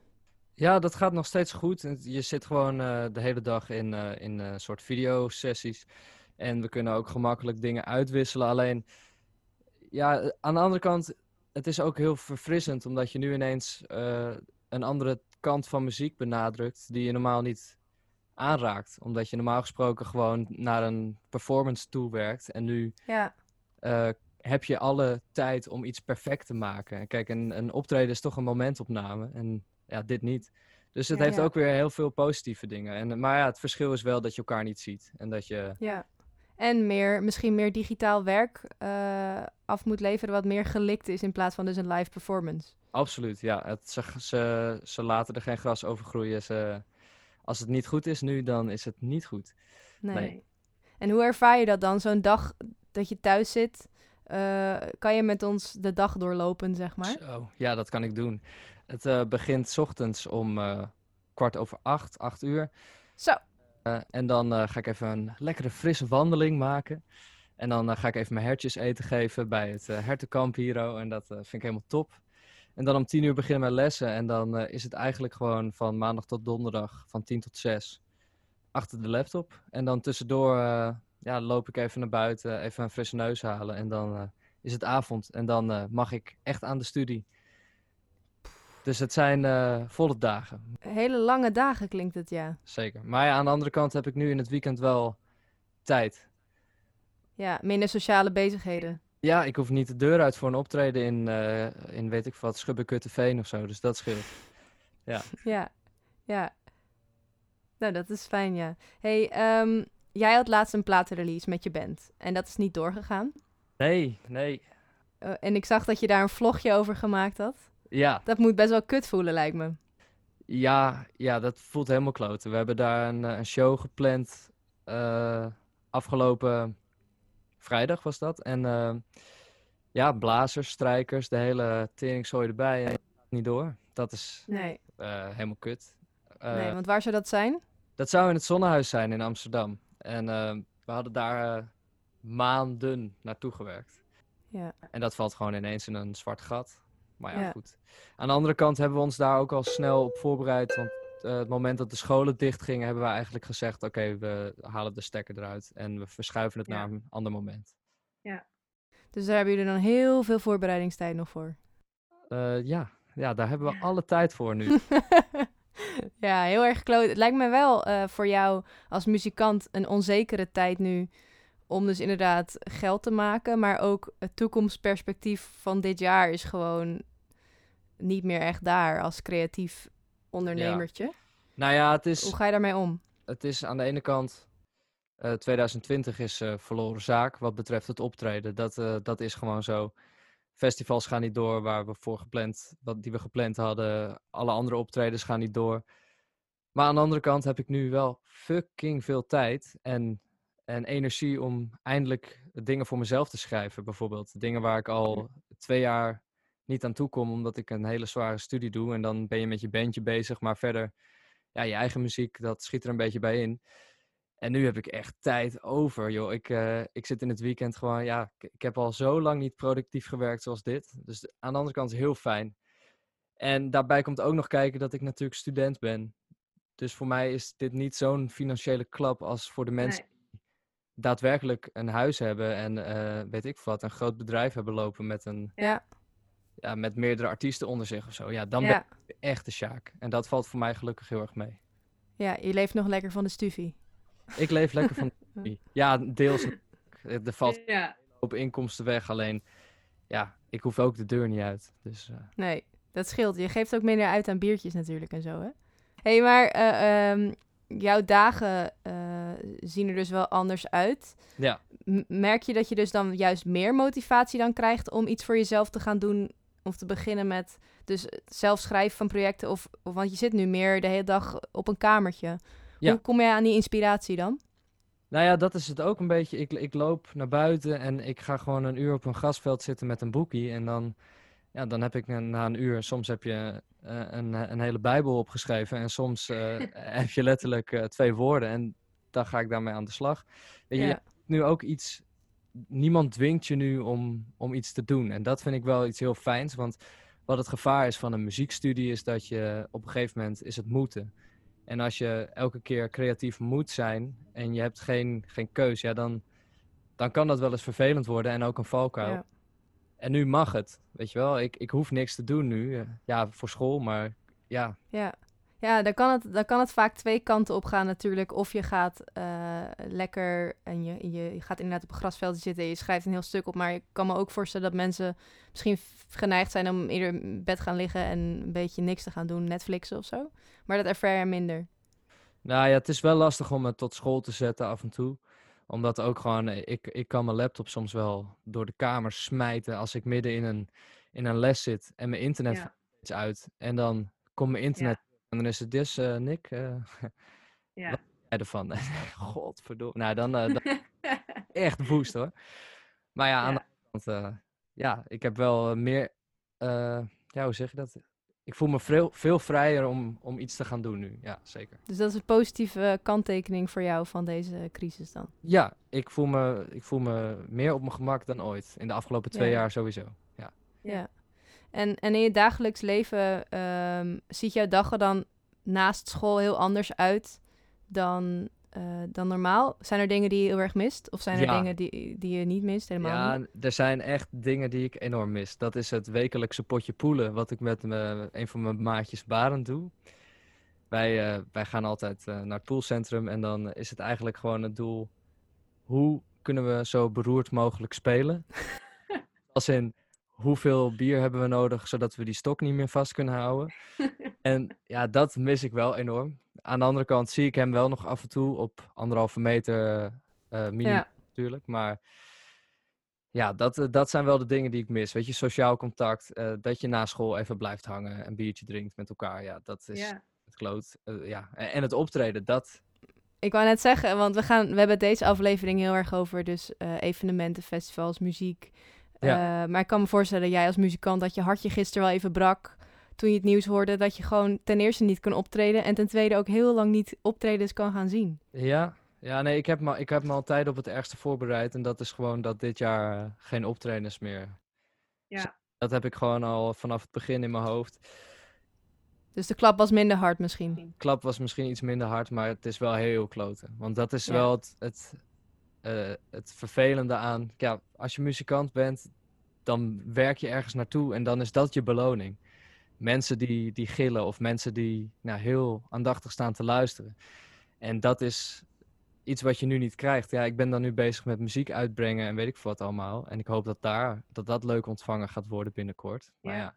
Ja, dat gaat nog steeds goed. Het- Je zit gewoon eh, de hele dag in, eh in eh soort videosessies. En we kunnen ook gemakkelijk dingen uitwisselen. Alleen, ja, eh, aan de andere kant, het is ook heel verfrissend. Omdat je nu ineens eh, een andere kant van muziek benadrukt. Die je normaal niet aanraakt. Omdat je normaal gesproken gewoon naar een performance toe werkt. En nu Ja, eh, heb je alle tijd om iets perfect te maken. En Kijk, een, een optreden is toch een momentopname. En ja, dit niet. Dus het Ja, heeft ja. ook weer heel veel positieve dingen. En, maar ja, het verschil is wel dat je elkaar niet ziet. En dat je. ja. En meer, misschien meer digitaal werk eh, af moet leveren wat meer gelikt is in plaats van dus een live performance. Absoluut, ja. Het, ze, ze, ze laten er geen gras over groeien. Ze, als het niet goed is nu, dan is het niet goed. Nee. Nee. En hoe ervaar je dat dan? Zo'n dag dat je thuis zit, eh, kan je met ons de dag doorlopen, zeg maar? Zo, ja, dat kan ik doen. Het eh, begint 's ochtends om eh, kwart over acht, acht uur. Zo. Eh, en dan eh, ga ik even een lekkere frisse wandeling maken. En dan eh, ga ik even mijn hertjes eten geven bij het eh, hertenkamp hier. oh, En dat eh, vind ik helemaal top. En dan om tien uur beginnen mijn lessen. En dan eh, is het eigenlijk gewoon van maandag tot donderdag van tien tot zes achter de laptop. En dan tussendoor eh, ja, loop ik even naar buiten, even een frisse neus halen. En dan eh, is het avond. En dan eh, mag ik echt aan de studie. Dus het zijn eh, volle dagen. Hele lange dagen klinkt het, ja. Zeker. Maar ja, aan de andere kant heb ik nu in het weekend wel tijd. Ja, minder sociale bezigheden. Ja, ik hoef niet de deur uit voor een optreden in, eh, in weet ik wat, Schubbekutteveen of zo. Dus dat scheelt. Ja, ja. Nou, dat is fijn, ja. hey, ehm, jij had laatst een platenrelease met je band. En dat is niet doorgegaan. Nee, nee. Eh, en ik zag dat je daar een vlogje over gemaakt had. Ja, Dat moet best wel kut voelen, lijkt me. ja, ja dat voelt helemaal kloten. We hebben daar een, eh, een show gepland eh, afgelopen vrijdag was dat. En eh, ja, blazers, strijkers, de hele teringzooi erbij. En niet door. Dat is Nee. eh, helemaal kut. Eh, nee, want waar zou dat zijn? Dat zou in het Zonnehuis zijn in Amsterdam. En eh, we hadden daar eh, maanden naartoe gewerkt. Ja. En dat valt gewoon ineens in een zwart gat. Maar ja, Ja. goed. Aan de andere kant hebben we ons daar ook al snel op voorbereid. Want eh, het moment dat de scholen dichtgingen, hebben we eigenlijk gezegd: oké, we halen de stekker eruit en we verschuiven het Ja. naar een ander moment. Dus daar hebben jullie dan heel veel voorbereidingstijd nog voor. Eh, ja. ja, daar hebben we alle tijd voor nu. [laughs] ja, heel erg kloot. Het lijkt me wel eh, voor jou als muzikant een onzekere tijd nu. Om dus inderdaad geld te maken. Maar ook het toekomstperspectief van dit jaar is gewoon niet meer echt daar als creatief ondernemertje. nou ja, het Hoe is, ga je daarmee om? het is aan de ene kant. eh, 2020 is eh, verloren zaak wat betreft het optreden. Dat, eh, dat is gewoon zo. Festivals gaan niet door waar we voor gepland, wat die we gepland hadden. Alle andere optredens gaan niet door. Maar aan de andere kant heb ik nu wel fucking veel tijd en, en energie om eindelijk dingen voor mezelf te schrijven. Bijvoorbeeld dingen waar ik al twee jaar niet aan toe kom, omdat ik een hele zware studie doe. En dan ben je met je bandje bezig, maar verder, ja, je eigen muziek, dat schiet er een beetje bij in. En nu heb ik echt tijd over, joh. Ik, eh, ik zit in het weekend gewoon, ja, ik, ik heb al zo lang niet productief gewerkt zoals dit. Dus de- aan de andere kant is heel fijn. En daarbij komt ook nog kijken dat ik natuurlijk student ben. Dus voor mij is dit niet zo'n financiële klap als voor de mensen die daadwerkelijk een huis hebben en eh, weet ik wat, een groot bedrijf hebben lopen met, een, Ja, ja, met meerdere artiesten onder zich of zo. Ja, dan ben ja. ik de echte Sjaak. En dat valt voor mij gelukkig heel erg mee. ja, je leeft nog lekker van de stufie. Ik leef lekker van de hobby. Ja, deels. natuurlijk. Er valt Ja. op inkomsten weg. Alleen, ja, ik hoef ook de deur niet uit. Dus eh, Nee, dat scheelt. Je geeft ook minder uit aan biertjes natuurlijk en zo, hè? hey, maar eh, ehm, jouw dagen eh, zien er dus wel anders uit. ja. M- merk je dat je dus dan juist meer motivatie dan krijgt om iets voor jezelf te gaan doen? Of te beginnen met dus het zelf schrijven van projecten? Of, of- want je zit nu meer de hele dag op een kamertje. Ja. Hoe kom je aan die inspiratie dan? Nou ja, dat is het ook een beetje. Ik, ik loop naar buiten en ik ga gewoon een uur op een grasveld zitten met een boekie. En dan, ja, dan heb ik een- na een uur, soms heb je eh, een, een hele bijbel opgeschreven. En soms eh, heb je letterlijk eh, twee woorden. En dan ga ik daarmee aan de slag. Weet je, je Ja. hebt nu ook iets... Niemand dwingt je nu om, om iets te doen. En dat vind ik wel iets heel fijns. Want wat het gevaar is van een muziekstudie is dat je op een gegeven moment is het moeten. En als je elke keer creatief moet zijn en je hebt geen, geen keus, ja, dan, dan kan dat wel eens vervelend worden en ook een valkuil. Ja. En nu mag het, weet je wel. Ik, ik hoef niks te doen nu. eh, Ja, voor school, maar ja, Ja, ja dan, kan het, dan kan het vaak twee kanten op gaan natuurlijk. Of je gaat eh, lekker en je, je, je gaat inderdaad op een grasveldje zitten en je schrijft een heel stuk op. Maar ik kan me ook voorstellen dat mensen misschien f- geneigd zijn om eerder in bed gaan liggen en een beetje niks te gaan doen, Netflixen of zo. Maar dat ervaar je minder. Nou ja, het is wel lastig om het tot school te zetten af en toe. Omdat ook gewoon, eh, ik, ik kan mijn laptop soms wel door de kamer smijten als ik midden in een, in een les zit en mijn internet Ja. gaat steeds uit. En dan komt mijn internet en dan is het dus, eh, Nick, eh [laughs] Ja. wat vind jij ervan? [laughs] Godverdomme. Nou, dan, eh, dan [laughs] echt woest hoor. Maar ja, aan de andere kant, eh, ja, ik heb wel eh, meer, eh, ja, hoe zeg je dat? Ik voel me veel, veel vrijer om, om iets te gaan doen nu. Ja, zeker. Dus dat is een positieve kanttekening voor jou van deze eh, crisis dan. Ja, ik voel, me, ik voel me meer op mijn gemak dan ooit. In de afgelopen twee Ja. jaar sowieso. Ja. Ja. En, en in je dagelijks leven ehm, ziet jouw dag er dan naast school heel anders uit dan, eh, dan normaal? Zijn er dingen die je heel erg mist? Of zijn er Ja. dingen die, die je niet mist? Helemaal ja, niet? er zijn echt dingen die ik enorm mis. Dat is het wekelijkse potje poelen, wat ik met me- een van mijn maatjes Barend doe. Wij, eh, wij gaan altijd eh, naar het poolcentrum en dan is het eigenlijk gewoon het doel... hoe kunnen we zo beroerd mogelijk spelen? [laughs] Als in, hoeveel bier hebben we nodig zodat we die stok niet meer vast kunnen houden? en ja, dat mis ik wel enorm. Aan de andere kant zie ik hem wel nog af en toe op anderhalve meter eh minimum Ja. natuurlijk. Maar ja, dat, eh, dat zijn wel de dingen die ik mis. Weet je, sociaal contact, eh, dat je na school even blijft hangen, een biertje drinkt met elkaar. Ja, dat is het kloot. Eh, ja. En, en het optreden, dat... Ik wou net zeggen, want we, gaan, we hebben deze aflevering heel erg over dus, eh, evenementen, festivals, muziek. Ja. Eh, maar ik kan me voorstellen, jij als muzikant, dat je hartje gisteren wel even brak toen je het nieuws hoorde. Dat je gewoon ten eerste niet kan optreden en ten tweede ook heel lang niet optredens kan gaan zien. Ja, Ja, nee, ik heb, me, ik heb me altijd op het ergste voorbereid. En dat is gewoon dat dit jaar eh, geen optredens meer. Ja. Dus Dat heb ik gewoon al vanaf het begin in mijn hoofd. Dus de klap was minder hard misschien. Klap was misschien iets minder hard, maar het is wel heel kloten. Want dat is Ja. wel het, het, eh, het vervelende aan... Ja, als je muzikant bent, dan werk je ergens naartoe en dan is dat je beloning. Mensen die, die gillen of mensen die nou, heel aandachtig staan te luisteren. En dat is iets wat je nu niet krijgt. Ja, ik ben dan nu bezig met muziek uitbrengen en weet ik veel wat allemaal. En ik hoop dat daar, dat, dat leuk ontvangen gaat worden binnenkort. Maar Ja. ja,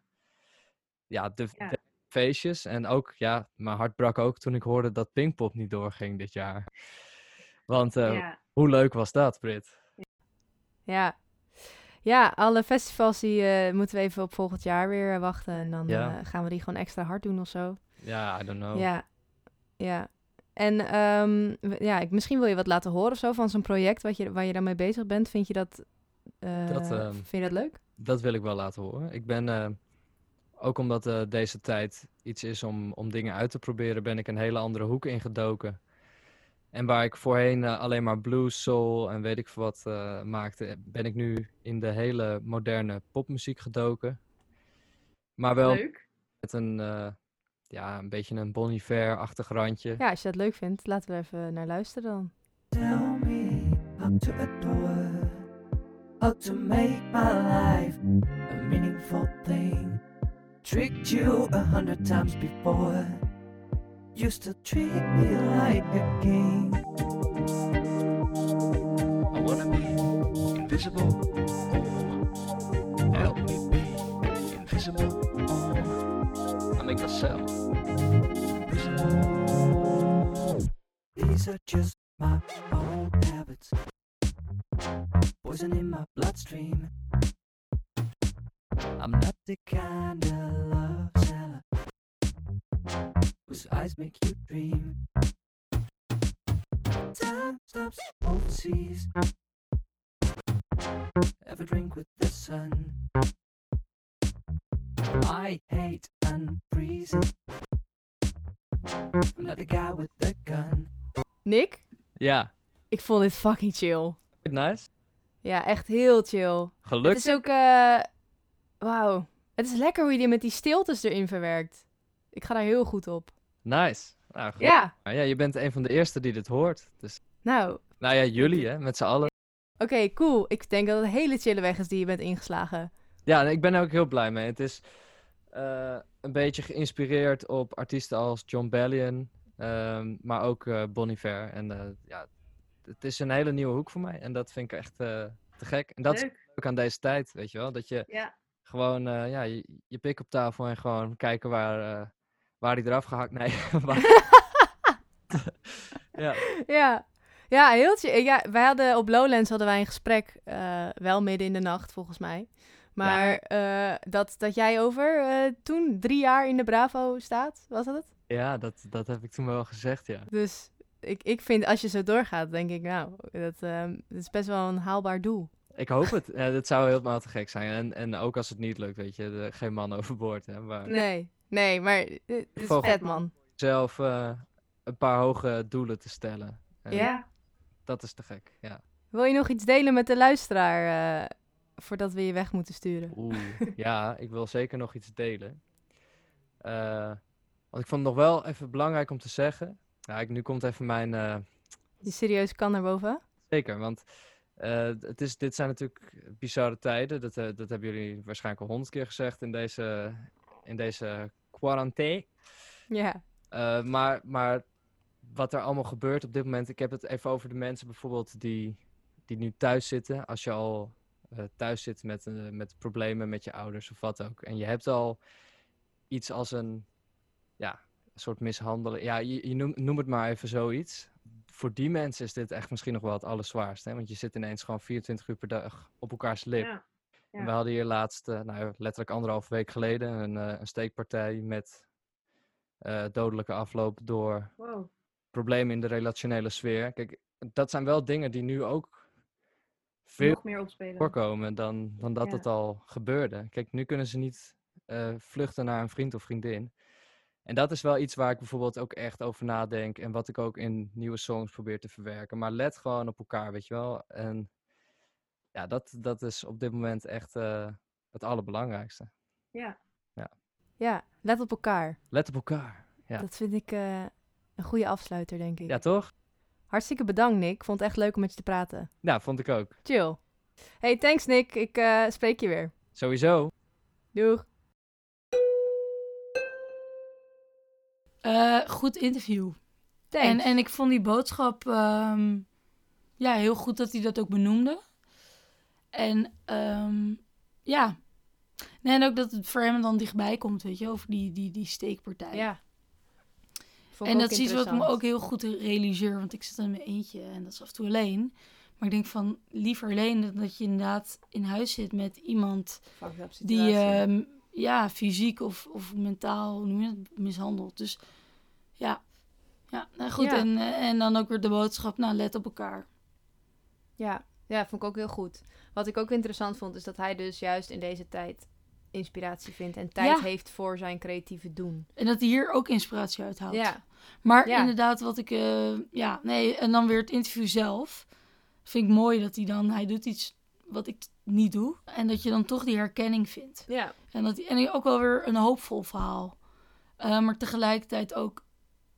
ja, de, Ja. de feestjes. En ook, ja, mijn hart brak ook toen ik hoorde dat Pinkpop niet doorging dit jaar. Want eh, ja. hoe leuk was dat, Brit? Ja. Ja, alle festivals die eh, moeten we even op volgend jaar weer eh, wachten. En dan Ja. Oh. eh, gaan we die gewoon extra hard doen of zo. Ja, I don't know. Ja. Ja. En ehm, w- ja, ik, misschien wil je wat laten horen of zo van zo'n project wat je, waar je dan mee bezig bent. Vind je dat, eh, Dat, ehm, vind je dat leuk? Dat wil ik wel laten horen. Ik ben, eh, ook omdat eh, deze tijd iets is om, om dingen uit te proberen, ben ik een hele andere hoek ingedoken. En waar ik voorheen eh, alleen maar blues, soul en weet ik veel wat eh, maakte, ben ik nu in de hele moderne popmuziek gedoken. Maar wel Leuk. met een, eh, ja, een beetje een Bon Iver-achtig randje. Ja, als je dat leuk vindt, laten we er even naar luisteren dan. Tell me how to adore, how to make my life a meaningful thing. Tricked you a hundred times before, you still treat me like a king. I wanna be invisible. Oh. Help me be invisible. Oh. I make myself invisible. These are just my old habits, poison in my bloodstream. I'm not the kind of love seller whose eyes make you dream. Time stops overseas. Have a drink with the sun. I hate and freezing. I'm not the guy with the gun. Nick, Ja, ik vond dit fucking chill. nice. Ja, echt heel chill. Gelukkig. Het is ook... eh, Wauw. Het is lekker hoe je die met die stiltes erin verwerkt. Ik ga daar heel goed op. Nice. Nou, gelukkig. Ja. Maar ja, je bent een van de eerste die dit hoort. Dus, Nou, oké, nou ja, jullie hè, met z'n allen. cool. Ik denk dat het een hele chille weg is die je bent ingeslagen. Ja, nee, ik ben er ook heel blij mee. Het is eh, een beetje geïnspireerd op artiesten als John Bellion, ehm, maar ook eh Bon Iver. En eh, ja, het is een hele nieuwe hoek voor mij. En dat vind ik echt eh, te gek. En dat is Leuk. ook aan deze tijd, weet je wel. Dat je Ja. gewoon eh, ja, je, je pik op tafel en gewoon kijken waar, eh waar die eraf gehakt. [laughs] Nee, [laughs] waar... ja, ja. Ja, heel chill. Ja, wij hadden op Lowlands hadden wij een gesprek, eh, wel midden in de nacht volgens mij. Maar eh, dat, dat jij over eh, toen drie jaar in de Bravo staat, was dat het? ja dat, dat heb ik toen wel gezegd, ja. Dus ik, ik vind als je zo doorgaat, denk ik, nou, dat, ehm, dat is best wel een haalbaar doel. Ik hoop het. Ja, dat zou helemaal te gek zijn. En, en ook als het niet lukt, weet je, de- geen man [laughs] overboord. Hè, maar Nee, nee, maar eh, het is Vogel. vet, man. zelf eh, een paar hoge doelen te stellen. En Ja. Dat is te gek, ja. Wil je nog iets delen met de luisteraar eh, voordat we je weg moeten sturen? Oeh, ja, ik wil zeker nog iets delen. Eh, want ik vond het nog wel even belangrijk om te zeggen. Ja, ik, nu komt even mijn... eh, Je serieus kan naar boven? Zeker, want eh, het is, dit zijn natuurlijk bizarre tijden. Dat, eh, dat hebben jullie waarschijnlijk al honderd keer gezegd in deze, in deze quarantaine. Ja. Eh, maar, maar wat er allemaal gebeurt op dit moment, ik heb het even over de mensen bijvoorbeeld die, die nu thuis zitten. Als je al eh, thuis zit met, eh, met problemen met je ouders of wat ook. En je hebt al iets als een ja, een soort mishandelen. Ja, je, je noem, noem het maar even zoiets. Voor die mensen is dit echt misschien nog wel het allerzwaarste. Hè? Want je zit ineens gewoon 24 uur per dag op elkaars lip. Ja. En We Ja. hadden hier laatst, eh, nou, letterlijk anderhalf week geleden, een, eh, een steekpartij met eh, dodelijke afloop door Wow. problemen in de relationele sfeer. Kijk, dat zijn wel dingen die nu ook veel Nog meer opspelen. voorkomen dan, dan dat Ja. het al gebeurde. Kijk, nu kunnen ze niet eh, vluchten naar een vriend of vriendin. En dat is wel iets waar ik bijvoorbeeld ook echt over nadenk. En wat ik ook in nieuwe songs probeer te verwerken. Maar let gewoon op elkaar, weet je wel. En ja, dat, dat is op dit moment echt eh, het allerbelangrijkste. Ja, let op elkaar. Let op elkaar. Ja. Dat vind ik eh, een goede afsluiter, denk ik. Ja, toch? Hartstikke bedankt, Nick. Vond het echt leuk om met je te praten. Nou, vond ik ook. Chill. Hey, thanks, Nick. Ik eh, spreek je weer. Sowieso. Doeg. Eh, goed interview. Thanks. En, en ik vond die boodschap ehm, ja, heel goed dat hij dat ook benoemde. En ehm, ja. Nee, en ook dat het voor hem dan dichtbij komt, weet je, over die, die, die steekpartij. Ja. en dat is iets wat ik me ook heel goed realiseer, want ik zit in mijn eentje en dat is af en toe alleen. Maar ik denk van liever alleen dan dat je inderdaad in huis zit met iemand die ehm, ja, fysiek of, of mentaal hoe noem je dat, mishandeld. Dus ja, ja nou goed. Ja. En, eh, en dan ook weer de boodschap, nou let op elkaar. Ja. ja, vond ik ook heel goed. Wat ik ook interessant vond, is dat hij dus juist in deze tijd inspiratie vindt en tijd Ja. heeft voor zijn creatieve doen. En dat hij hier ook inspiratie uit haalt. Ja, Maar Ja. inderdaad, wat ik, eh, ja, nee, en dan weer het interview zelf. Vind ik mooi dat hij dan, hij doet iets wat ik niet doe. En dat je dan toch die herkenning vindt. ja, En, dat, en ook wel weer een hoopvol verhaal. Eh, maar tegelijkertijd ook,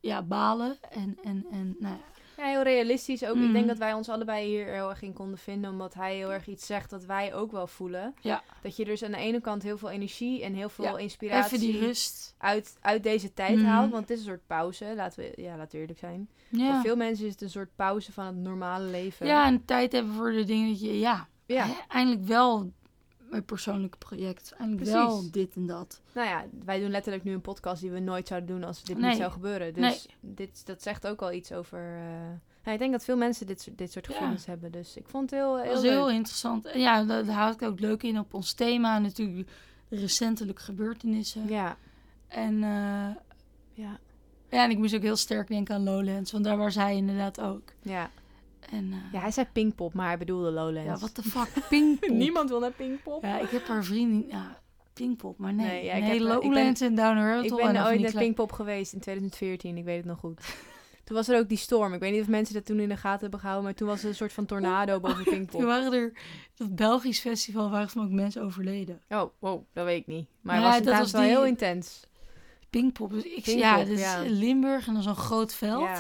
ja, balen en, en, en nou ja. Ja, heel realistisch ook. Ik Mhm. denk dat wij ons allebei hier heel erg in konden vinden, omdat hij heel erg iets zegt dat wij ook wel voelen. Ja. Dat je dus aan de ene kant heel veel energie en heel veel Ja, inspiratie even die rust. Uit, uit deze tijd Mhm. haalt, want het is een soort pauze, laten we, ja, laten we eerlijk zijn. Ja. Voor veel mensen is het een soort pauze van het normale leven. Ja, en tijd hebben voor de dingen dat je... Ja, ja. hè, eindelijk wel mijn persoonlijke project. Eindelijk wel Precies. dit en dat. Nou ja, wij doen letterlijk nu een podcast die we nooit zouden doen als dit niet Nee. zou gebeuren. Dus dit, dat zegt ook al iets over... eh, nou, ik denk dat veel mensen dit, soort- dit soort Ja. gevoelens hebben, dus ik vond het heel, Dat heel, was leuk. heel interessant. En ja, daar daar hou ik ook leuk in op ons thema. Natuurlijk de recentelijke gebeurtenissen. Ja, En, eh, ja, ja, en ik moest ook heel sterk denken aan Lowlands. Want daar was hij inderdaad ook. ja. En eh, Ja, hij zei Pinkpop, maar hij bedoelde Lowlands. ja, wat de [laughs] fuck, Pinkpop. wil naar Pinkpop. Ja, ik heb haar vrienden... Ja, Pinkpop, maar nee. Nee, Nee, ja, ik heb, eh, ik ben- Lowlands en Down Rabbit ik Hole en ben dan van die ooit naar kleine- Pinkpop geweest in 2014, ik weet het nog [laughs] goed. Toen was er ook die storm. Ik weet niet of mensen dat toen in de gaten hebben gehouden, maar toen was er een soort van [laughs] tornado boven Toen Pinkpop. waren er... Dat Belgisch festival waren er ook mensen overleden. Oh, wow, dat weet ik niet. Maar Ja, het was dat inderdaad was wel die- heel intens. Pinkpop. Dus ik, Pinkpop, ja, dit ja. is Limburg en dan zo'n groot veld. Ja,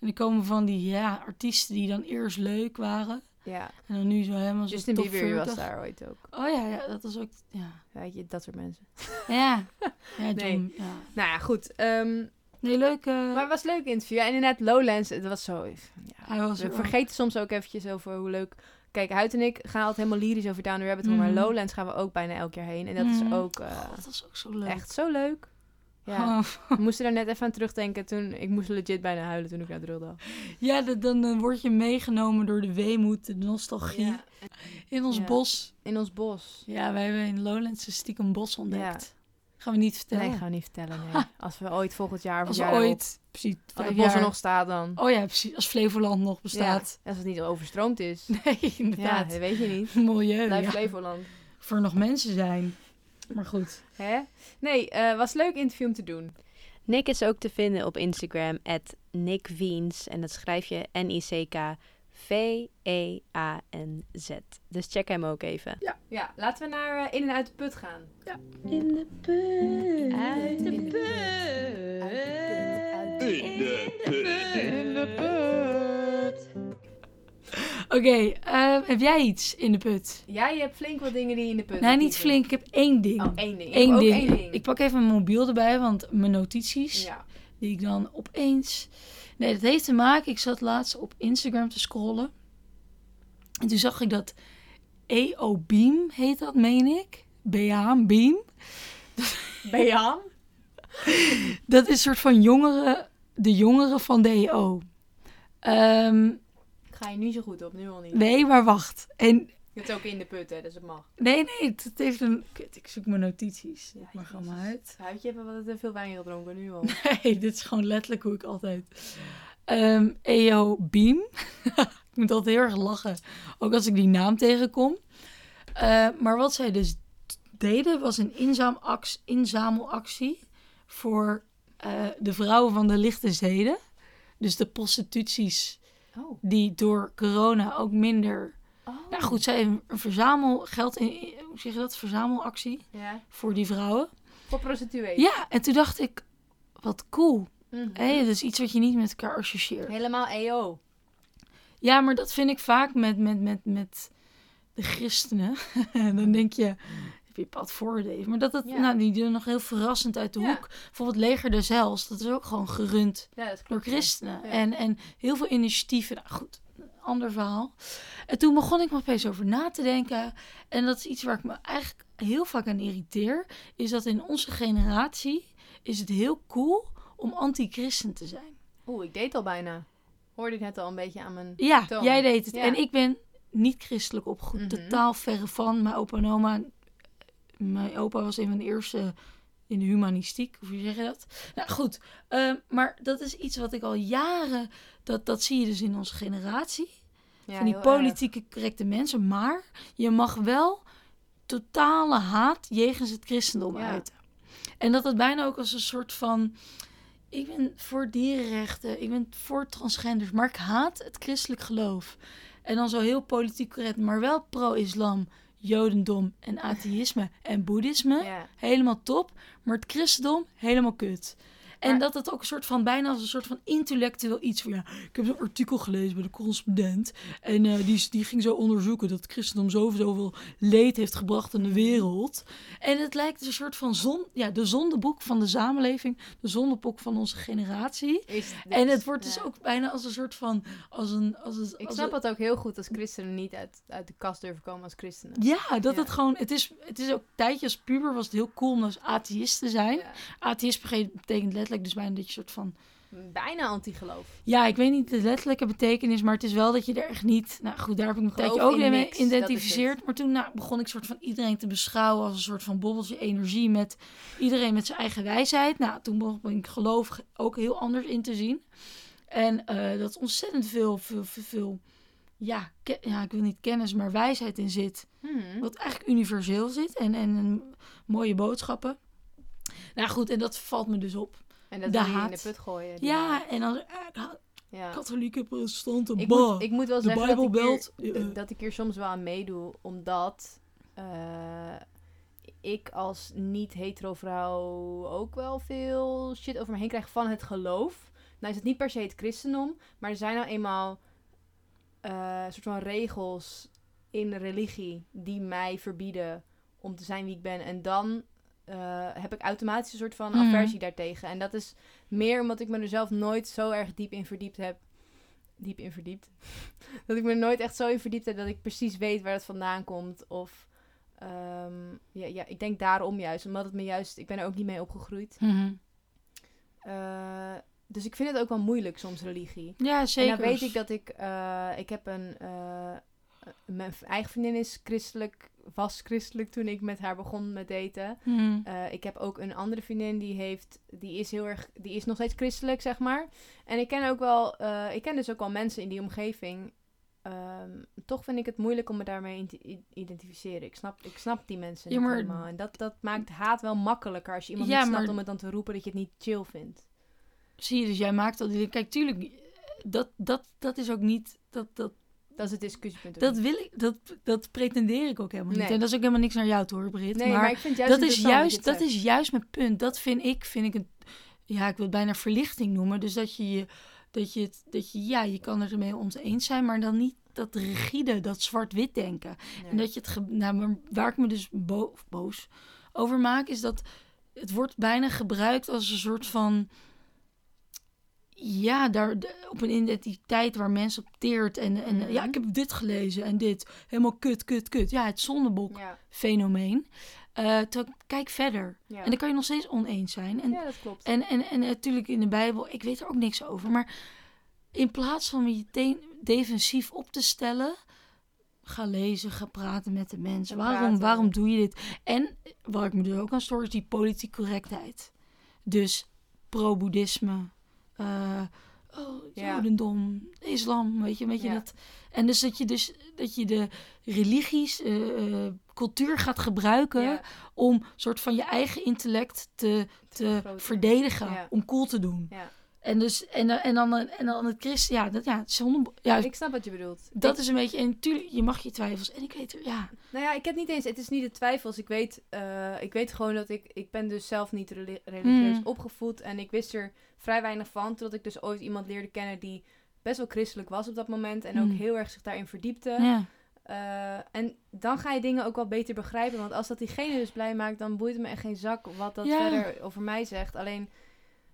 En dan komen van die ja, artiesten die dan eerst leuk waren. ja. En dan nu zo helemaal zo Justin top Bieber 40. was daar ooit ook. Oh ja, ja, dat was ook... Ja, Weet je, dat soort mensen. ja. ja, [laughs] Nee. dom, ja. Nou ja, goed. ehm, Nee, leuk. eh, maar het was een leuk interview. Ja, en inderdaad, Lowlands, het was zo... Ja, hij was We er vergeten soms ook eventjes over hoe leuk... Kijk, Huid en ik gaan altijd helemaal lyrisch over Down the Rabbit Hole. Mhm. Maar Lowlands gaan we ook bijna elk jaar heen. En dat is Mhm. ook eh, ook. God, dat is ook zo leuk. echt zo leuk. [laughs] Ja. Oh. We moesten daar net even aan terugdenken. Toen, ik moest legit bijna huilen toen ik naar Drill dacht. Ja, dat- dan, dan word je meegenomen door de weemoed, de nostalgie. In ons Ja. bos. In ons bos. Ja, wij hebben in Lowlands een stiekem bos ontdekt. Gaan we niet vertellen. Nee, gaan we niet vertellen. [laughs] Nee. Als we ooit volgend jaar of Als we jaar ooit... Precies, Als vijf het bos er jaar- nog staat dan. Oh ja, precies. Als Flevoland nog bestaat. Ja, als het niet overstroomd is. Nee, Ja, [laughs] inderdaad. dat weet je niet. Milieu, Blijf ja. Flevoland. Of er nog mensen zijn. Maar goed. Hè? Nee, eh was leuk interview om te doen. Nick is ook te vinden op Instagram, at Nick Wiens. En dat schrijf je E N-I-C-K-V-E-A-N-Z. Dus check hem ook even. Ja, laten we naar eh, In en Uit de Put gaan. In de put. Uit de Oké, eh, heb jij iets in de put? Ja, je hebt flink wat dingen die in de Nee, put zitten. niet flink. Ik heb één ding. Oh, één ding. Ik Eén heb ook ding. één ding. Ik pak even mijn mobiel erbij, want mijn notities, Ja. die ik dan opeens... Nee, dat heeft te maken, ik zat laatst op Instagram te scrollen. En toen zag ik dat EO Beam heet dat, meen ik. BH [laughs] Beam. Beam? [laughs] Dat is een soort van jongeren, de jongeren van DEO. Ehm Ik ga je nu zo goed op, nu al niet. nee, maar wacht. En Het is ook in de put, hè, dus het mag. nee, nee, het, het heeft een. Kut, ik zoek mijn notities. Ja, Ja, maar jezus. allemaal uit. Huidje hebben we te veel wijn gedronken, nu [laughs] al. Nee, dit is gewoon letterlijk hoe ik altijd. Ehm EO Beam. [laughs] ik moet altijd heel erg lachen. Ook als ik die naam tegenkom. Eh, maar wat zij dus deden was een inzaamax- inzamelactie voor eh, eh, de vrouwen van de lichte zeden. Dus de prostituties Oh. die door corona ook minder... oh. Nou goed, zij hebben een verzamelgeld, in, hoe zeg je dat, verzamelactie Ja. voor die vrouwen. Voor prostituees. Ja, en toen dacht ik, wat cool. Mhm. Hé, dat is iets wat je niet met elkaar associeert. Helemaal E EO. Ja, maar dat vind ik vaak met, met, met, met de christenen. [laughs] En dan denk je, heb je pad voor, Dave. Maar dat het, Ja. nou, die doen nog heel verrassend uit de Ja. hoek. Bijvoorbeeld Leger des Hels, dat is ook gewoon gerund Ja, dat door klopt. christenen. Ja. En, en heel veel initiatieven. Nou goed, een ander verhaal. En toen begon ik me opeens over na te denken. En dat is iets waar ik me eigenlijk heel vaak aan irriteer. Is dat in onze generatie is het heel cool om anti-christen te zijn. Oeh, ik deed het al bijna. Hoorde ik net al een beetje aan mijn... Ja, Toon. jij deed het. eh, Ja. En ik ben niet christelijk opgegroeid. Mhm. Totaal verre van. Mijn opa en oma... Mijn opa was een van de eerste in de humanistiek. Hoe zeg je dat? Nou, goed. Ehm, maar dat is iets wat ik al jaren... Dat, dat zie je dus in onze generatie. Ja, van die heel erg. politieke correcte mensen. Maar je mag wel totale haat jegens het christendom Ja. uiten. En dat dat bijna ook als een soort van... Ik ben voor dierenrechten, ik ben voor transgenders, maar ik haat het christelijk geloof. En dan zo heel politiek correct, maar wel pro-islam, jodendom en atheïsme en boeddhisme. Ja. Helemaal top, maar het christendom helemaal kut. En Maar- dat het ook een soort van, bijna als een soort van intellectueel iets van, ja, ik heb zo'n artikel gelezen bij de correspondent. En eh, die, die ging zo onderzoeken dat het christendom zoveel, zoveel leed heeft gebracht aan de wereld. En het lijkt dus een soort van zon, ja, de zondeboek van de samenleving, de zondeboek van onze generatie. Is dit- En het wordt dus ja. ook bijna als een soort van, als een, als een, Ik als snap een- het ook heel goed als christenen niet uit, uit de kast durven komen als christenen. Ja, dat Ja. het gewoon, het is, het is ook een tijdje als puber was het heel cool om als atheïst te zijn. Ja. Atheïst betekent letterlijk dus bijna dat je soort van Bijna antigeloof. Ja, ik weet niet de letterlijke betekenis, maar het is wel dat je er echt niet... Nou goed, daar heb ik me een Geloof tijdje ook mee in niks, dat is geïdentificeerd. Maar toen nou, begon ik soort van iedereen te beschouwen als een soort van bobbeltje energie met iedereen met zijn eigen wijsheid. Nou, toen begon ik geloof ge- ook heel anders in te zien. En eh, dat ontzettend veel, veel, veel, veel ja, ke- ja, ik wil niet kennis, maar wijsheid in zit. Hmm. Wat eigenlijk universeel zit en, en, en mooie boodschappen. Nou goed, en dat valt me dus op. En de dat wil je in de haat. put gooien. die haat. Ja, en dan... eh, ja. katholieke protestanten, Ik bah. moet, ik moet wel de zeggen dat ik, hier, Bijbelbelt, eh, eh. dat ik hier soms wel aan meedoe, omdat eh, ik als niet-hetero vrouw ook wel veel shit over me heen krijg van het geloof. Nou is het niet per se het christendom, maar er zijn nou eenmaal eh soort van regels in religie die mij verbieden om te zijn wie ik ben. En dan eh, heb ik automatisch een soort van Mhm. aversie daartegen. En dat is meer omdat ik me er zelf nooit zo erg diep in verdiept heb. Diep in verdiept. [laughs] dat ik me er nooit echt zo in verdiept heb dat ik precies weet waar het vandaan komt. Of ehm, ja, ja, ik denk daarom juist. Omdat het me juist. Ik ben er ook niet mee opgegroeid. Mhm. Eh, dus ik vind het ook wel moeilijk soms religie. Ja, zeker. En dan weet ik dat ik... eh, ik heb een... eh, mijn eigen vriendin is christelijk... Was christelijk toen ik met haar begon met daten. Mhm. Eh, ik heb ook een andere vriendin die heeft... Die is heel erg... Die is nog steeds christelijk, zeg maar. En ik ken ook wel... eh, ik ken dus ook wel mensen in die omgeving... Ehm, toch vind ik het moeilijk om me daarmee in te i- identificeren. Ik snap, ik snap die mensen Ja, niet maar- helemaal. En dat, dat maakt haat wel makkelijker als je iemand Ja, niet snapt maar- om het dan te roepen dat je het niet chill vindt. Zie je, dus jij maakt al die... Kijk, tuurlijk, eh, dat, dat, dat is ook niet... Dat, dat, Dat is het discussiepunt. ook dat niet. wil ik... Dat, dat pretendeer ik ook helemaal niet. Nee. En dat is ook helemaal niks naar jou toe, hoor, Britt. Nee, maar, ik vind juist dat, is interessant je juist, het dat zegt. is juist mijn punt. Dat vind ik, vind ik een... Ja, ik wil het bijna verlichting noemen. Dus dat je je... Dat je, het, dat je ja, je kan er mee oneens zijn, maar dan niet dat rigide, dat zwart-wit denken. En dat je het. ge- Nou, maar waar ik me dus bo of boos over maak, is dat het wordt bijna gebruikt als een soort van. Ja, daar, de- op een identiteit waar mensen op teert. En, en Mhm. ja, ik heb dit gelezen en dit. Helemaal kut, kut, kut. Ja, het Ja, zondebok-fenomeen. Eh, terwijl ik- kijk verder. ja. En dan kan je nog steeds oneens zijn. En ja, dat klopt. en, en, en natuurlijk in de Bijbel, ik weet er ook niks over. Maar in plaats van je meteen defensief op te stellen, ga lezen, ga praten met de mensen. En Waarom, praten. waarom doe je dit? En waar ik me dus ook aan stoor, is die politieke correctheid. Dus pro-boeddhisme, eh, oh, Ja. jodendom, islam, weet je, weet je Ja. dat. En dus dat je dus dat je de religies, eh, eh, cultuur gaat gebruiken Ja. om soort van je eigen intellect te, te vergroten. verdedigen, Ja. om cool te doen. Ja. En dus en, dan- en dan en dan het christen, ja, dat ja, het is honden, ja, Ik snap wat je bedoelt. dat is een beetje en tuurlijk, je mag je twijfels en ik weet er, ja, Nou ja, ik heb niet eens. Het is niet de twijfels. Ik weet, eh, ik weet gewoon dat ik. Ik ben dus zelf niet reli- religieus Mm. opgevoed. En ik wist er vrij weinig van. Totdat ik dus ooit iemand leerde kennen die best wel christelijk was op dat moment. En Mm. ook heel erg zich daarin verdiepte. ja, Eh, en dan ga je dingen ook wel beter begrijpen. Want als dat diegene dus blij maakt, dan boeit het me echt geen zak wat dat Ja. verder over mij zegt. Alleen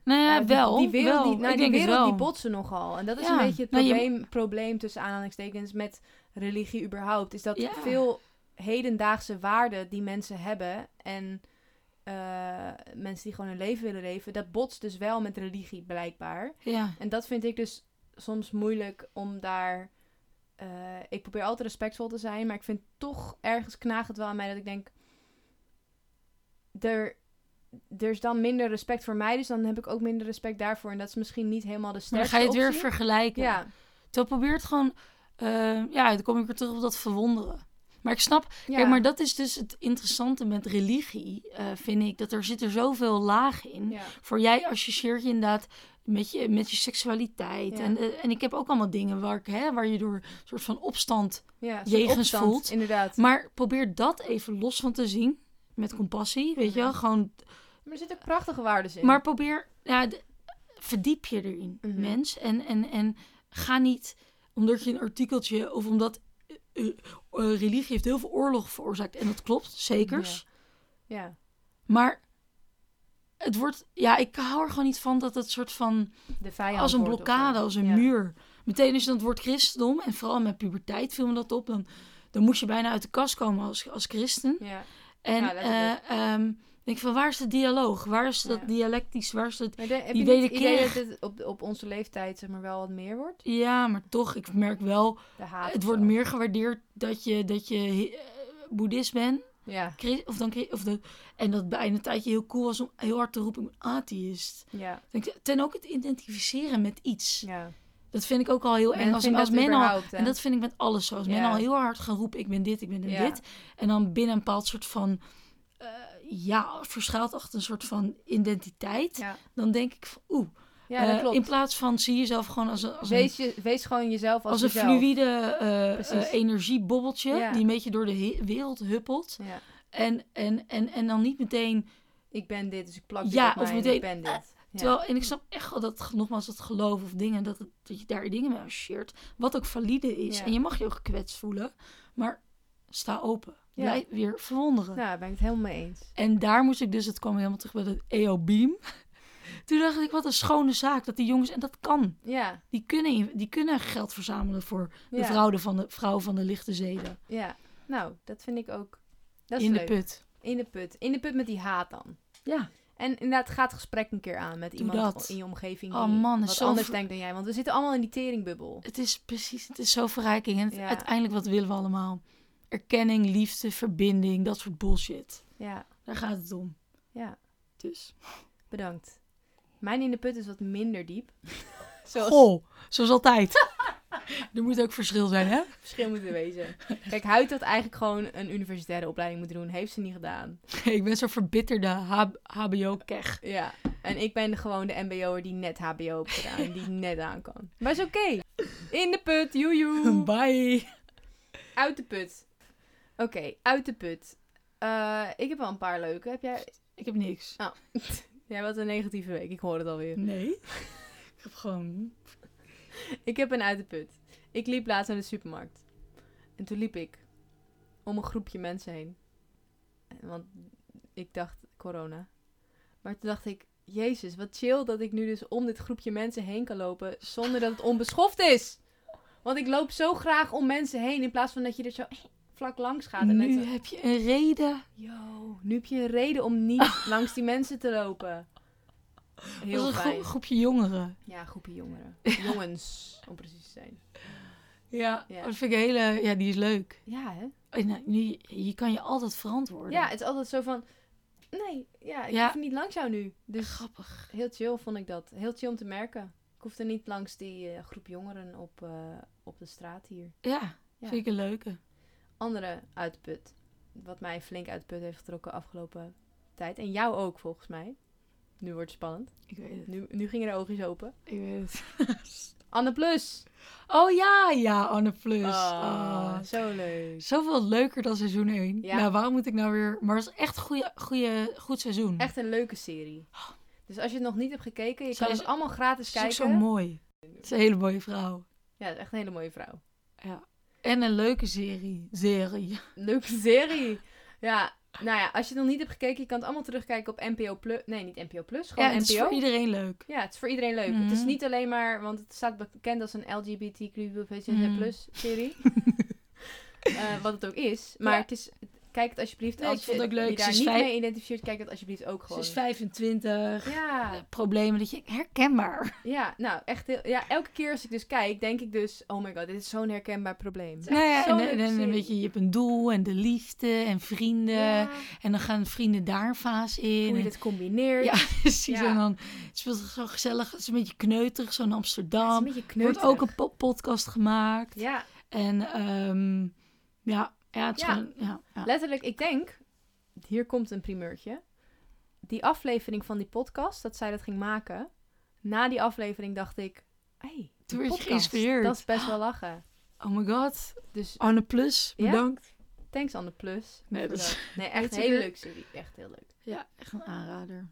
nou ja, eh, die- wel, die, wereld, wel. Die, nou, ik die, denk het wereld die wel. botsen nogal. En dat is Ja. een beetje het Nou, je- probleem, probleem tussen aanhalingstekens met religie überhaupt. Is dat Ja. veel hedendaagse waarden die mensen hebben en eh, mensen die gewoon een leven willen leven, dat botst dus wel met religie blijkbaar. Ja, En dat vind ik dus soms moeilijk om daar. eh, ik probeer altijd respectvol te zijn, maar ik vind toch ergens knaagt het wel aan mij dat ik denk. Er, er is dan minder respect voor mij, dus dan heb ik ook minder respect daarvoor. En dat is misschien niet helemaal de maar dan sterkste. ga je het weer optie. vergelijken. Ja, Terwijl probeert gewoon, eh, ja, dan kom ik weer terug op dat verwonderen. Maar ik snap, ja. kijk, maar dat is dus het interessante met religie, eh, vind ik. Dat er zit er zoveel laag in. Ja. Voor jij associeert je inderdaad met je, met je seksualiteit. Ja. En, eh, en ik heb ook allemaal dingen waar, ik, hè, waar je door een soort van opstand... ja zo'n jegens opstand, voelt. Inderdaad. Maar, Maar probeer dat even los van te zien. Met compassie, weet je wel. Gewoon er zitten ook prachtige waarden in. Maar probeer, ja, d- verdiep je erin, Mhm. mens. En, en, en ga niet omdat je een artikeltje of omdat eh, eh, eh, religie heeft heel veel oorlog veroorzaakt. En dat klopt, zekers. ja. Maar het wordt, ja, ik hou er gewoon niet van dat het soort van De vijand als een wordt of zo. blokkade, als een Ja. muur. Meteen als je dan het woord christendom, en vooral met puberteit viel me dat op, dan, dan moest je bijna uit de kast komen als, als christen. Ja. En Ja, letterlijk. eh, ehm, ik denk van, waar is de dialoog? Waar is dat Ja. dialectisch? Waar is dat Maar de- heb Die je niet het idee dat wederkerig- het op, op onze leeftijd zeg maar, wel wat meer wordt? Ja, maar toch, ik merk wel, De haat het of wordt zo. meer gewaardeerd dat je, dat je eh, boeddhist bent. Ja, Chris- Of dan, of de, en dat bij een tijdje heel cool was om heel hard te roepen, ik ben atheïst. ja, Ik denk, Ten ook het identificeren met iets. ja. Dat vind ik ook al heel ik eng. Als, vind als dat men al, überhaupt, hè. en dat vind ik met alles zo. Als men Ja. al heel hard gaan roepen, ik ben dit, ik ben Ja. dit. En dan binnen een bepaald soort van, eh, ja, verschuilt achter een soort van identiteit. Ja, Dan denk ik, van, oeh. ja dat eh, klopt. in plaats van zie jezelf gewoon als een, als een wees, je, wees gewoon jezelf als, als, een jezelf. fluïde eh, Precies. eh, energiebobbeltje Ja. die een beetje door de he- wereld huppelt. Ja. En, en, en, en dan niet meteen. Ik ben dit, dus ik plak dit Ja, op mij of en meteen, ik ben eh, dit. Ja. Terwijl, en ik snap echt wel dat nogmaals dat geloof of dingen, dat, het- dat je daar dingen mee associeert. Wat ook valide is. Ja. En je mag je ook gekwetst voelen. Maar sta open. Ja. Blijf weer verwonderen. Nou, daar ben ik het helemaal mee eens. En daar moest ik dus, het kwam helemaal terug bij dat EO Beam. [laughs] Toen dacht ik, wat een schone zaak dat die jongens, en dat kan. Ja, Die kunnen, die kunnen geld verzamelen voor de Ja. vrouwen van de, vrouwen van de lichte zeden. ja. Nou, dat vind ik ook... Dat is In de leuk. put. In de put. In de put met die haat dan. Ja. En inderdaad, ga het gesprek een keer aan met Doe iemand dat. in je omgeving die Oh man, het is wat zo anders ver- denkt dan jij. Want we zitten allemaal in die teringbubbel. Het is precies, het is zo verrijking. En het- Ja. uiteindelijk, wat willen we allemaal? Erkenning, liefde, verbinding, dat soort bullshit. Ja, Daar gaat het om. ja. Dus. Bedankt. Mijn in de put is wat minder diep. [laughs] Zoals Goh, zoals altijd. [laughs] er moet ook verschil zijn, hè? verschil moet er wezen. [laughs] Kijk, Huid had eigenlijk gewoon een universitaire opleiding moeten doen. Heeft ze niet gedaan. [laughs] Ik ben zo'n verbitterde H- HBO-kech. Ja. En ik ben gewoon de mbo'er die net hbo heeft gedaan. [laughs] en Die net aan kan. Maar is oké. In de put, joejoe. Bye. Uit de put. Oké, uit de put. Eh, ik heb wel een paar leuke. Heb jij... Ik heb niks. Oh. jij had een negatieve week. Ik hoor het alweer. Nee. [laughs] Ik heb gewoon... Ik heb een uit de put. Ik liep laatst naar de supermarkt. En toen liep ik om een groepje mensen heen. En- Want ik dacht corona. Maar toen dacht ik, Jezus, wat chill dat ik nu dus om dit groepje mensen heen kan lopen zonder dat het onbeschoft is. Want ik loop zo graag om mensen heen in plaats van dat je er zo [sniffs] vlak langs gaat. En Nu denkt, heb je een reden. yo, nu heb je een reden [laughs] om niet langs die mensen te lopen. Dat Heel is een gro- fijn. groepje jongeren. Ja, groepje jongeren. Jongens, om precies te zijn. Ja. Ja. Dat vind ik een hele... Ja, die is leuk. Ja, hè? En, nou, nu, je kan je altijd verantwoorden. Ja, het is altijd zo van... Nee, ja, ik Ja. hoef niet langs jou nu. Dus Grappig. heel chill vond ik dat. Heel chill om te merken. Ik hoefde niet langs die eh, groep jongeren op, eh, op de straat hier. Ja, Ja. vind ik een leuke. Andere uitput. Wat mij flink uitput heeft getrokken afgelopen tijd. En jou ook, volgens mij. Nu wordt het spannend. Ik weet het. Nu, nu gingen de oogjes open. Ik weet het. [laughs] Anne Plus! oh ja, ja, Anne Plus. Ah, Ah, Zo leuk. Zoveel leuker dan seizoen 1. Ja. Nou, waarom moet ik nou weer... Maar het is echt goede, goede, goed seizoen. Echt een leuke serie. Ah. Dus als je het nog niet hebt gekeken, je Zij kan is- het allemaal gratis Ze is ook kijken. zo mooi. Het is een hele mooie vrouw. Ja, het is echt een hele mooie vrouw. En een leuke serie. Serie. Leuke serie. Ja, nou ja, als je het nog niet hebt gekeken, je kan het allemaal terugkijken op NPO Plus. Nee, niet NPO Plus, Ja, gewoon het NPO. is voor iedereen leuk. Ja, het is voor iedereen leuk. Het is Mhm. niet alleen maar, want het staat bekend als een LGBTQ Mhm. plus [laughs] serie. Eh, wat het ook is. Maar Ja. het is, kijk het alsjeblieft. Nee, als ik vond je het ook leuk. je Ze daar is niet vijf- mee identificeert, kijk het alsjeblieft ook Ze gewoon. is 25. Ja, Problemen dat je... Herkenbaar. ja, nou echt heel, ja, elke keer als ik dus kijk, denk ik dus, oh my god, dit is zo'n herkenbaar probleem. Nou ja, zo'n en, en, leuke en serie. weet je, je hebt een doel en de liefde en vrienden. En dan gaan vrienden daar een fase in. hoe je En- dit combineert. Ja, precies. Ja. En [laughs] dan het speelt het zo gezellig. Het is een beetje kneuterig, zo in Het is een Amsterdam. beetje Er wordt kneuterig. ook een po- podcast gemaakt. Ja, En ehm, ja, ja, het is Ja. gewoon... Ja, ja. letterlijk, ik denk, hier komt een primeurtje. Die aflevering van die podcast, dat zij dat ging maken. Na die aflevering dacht ik, hé, hey, die Toen werd je podcast, geïnspireerd. dat is best wel lachen. Oh my god. Dus Anne Plus, Ja? bedankt. thanks aan de plus. Nee, voor dat is- [laughs] nee echt heet een ze hele weer? leuke serie. Echt heel leuk. Ja, echt een aanrader.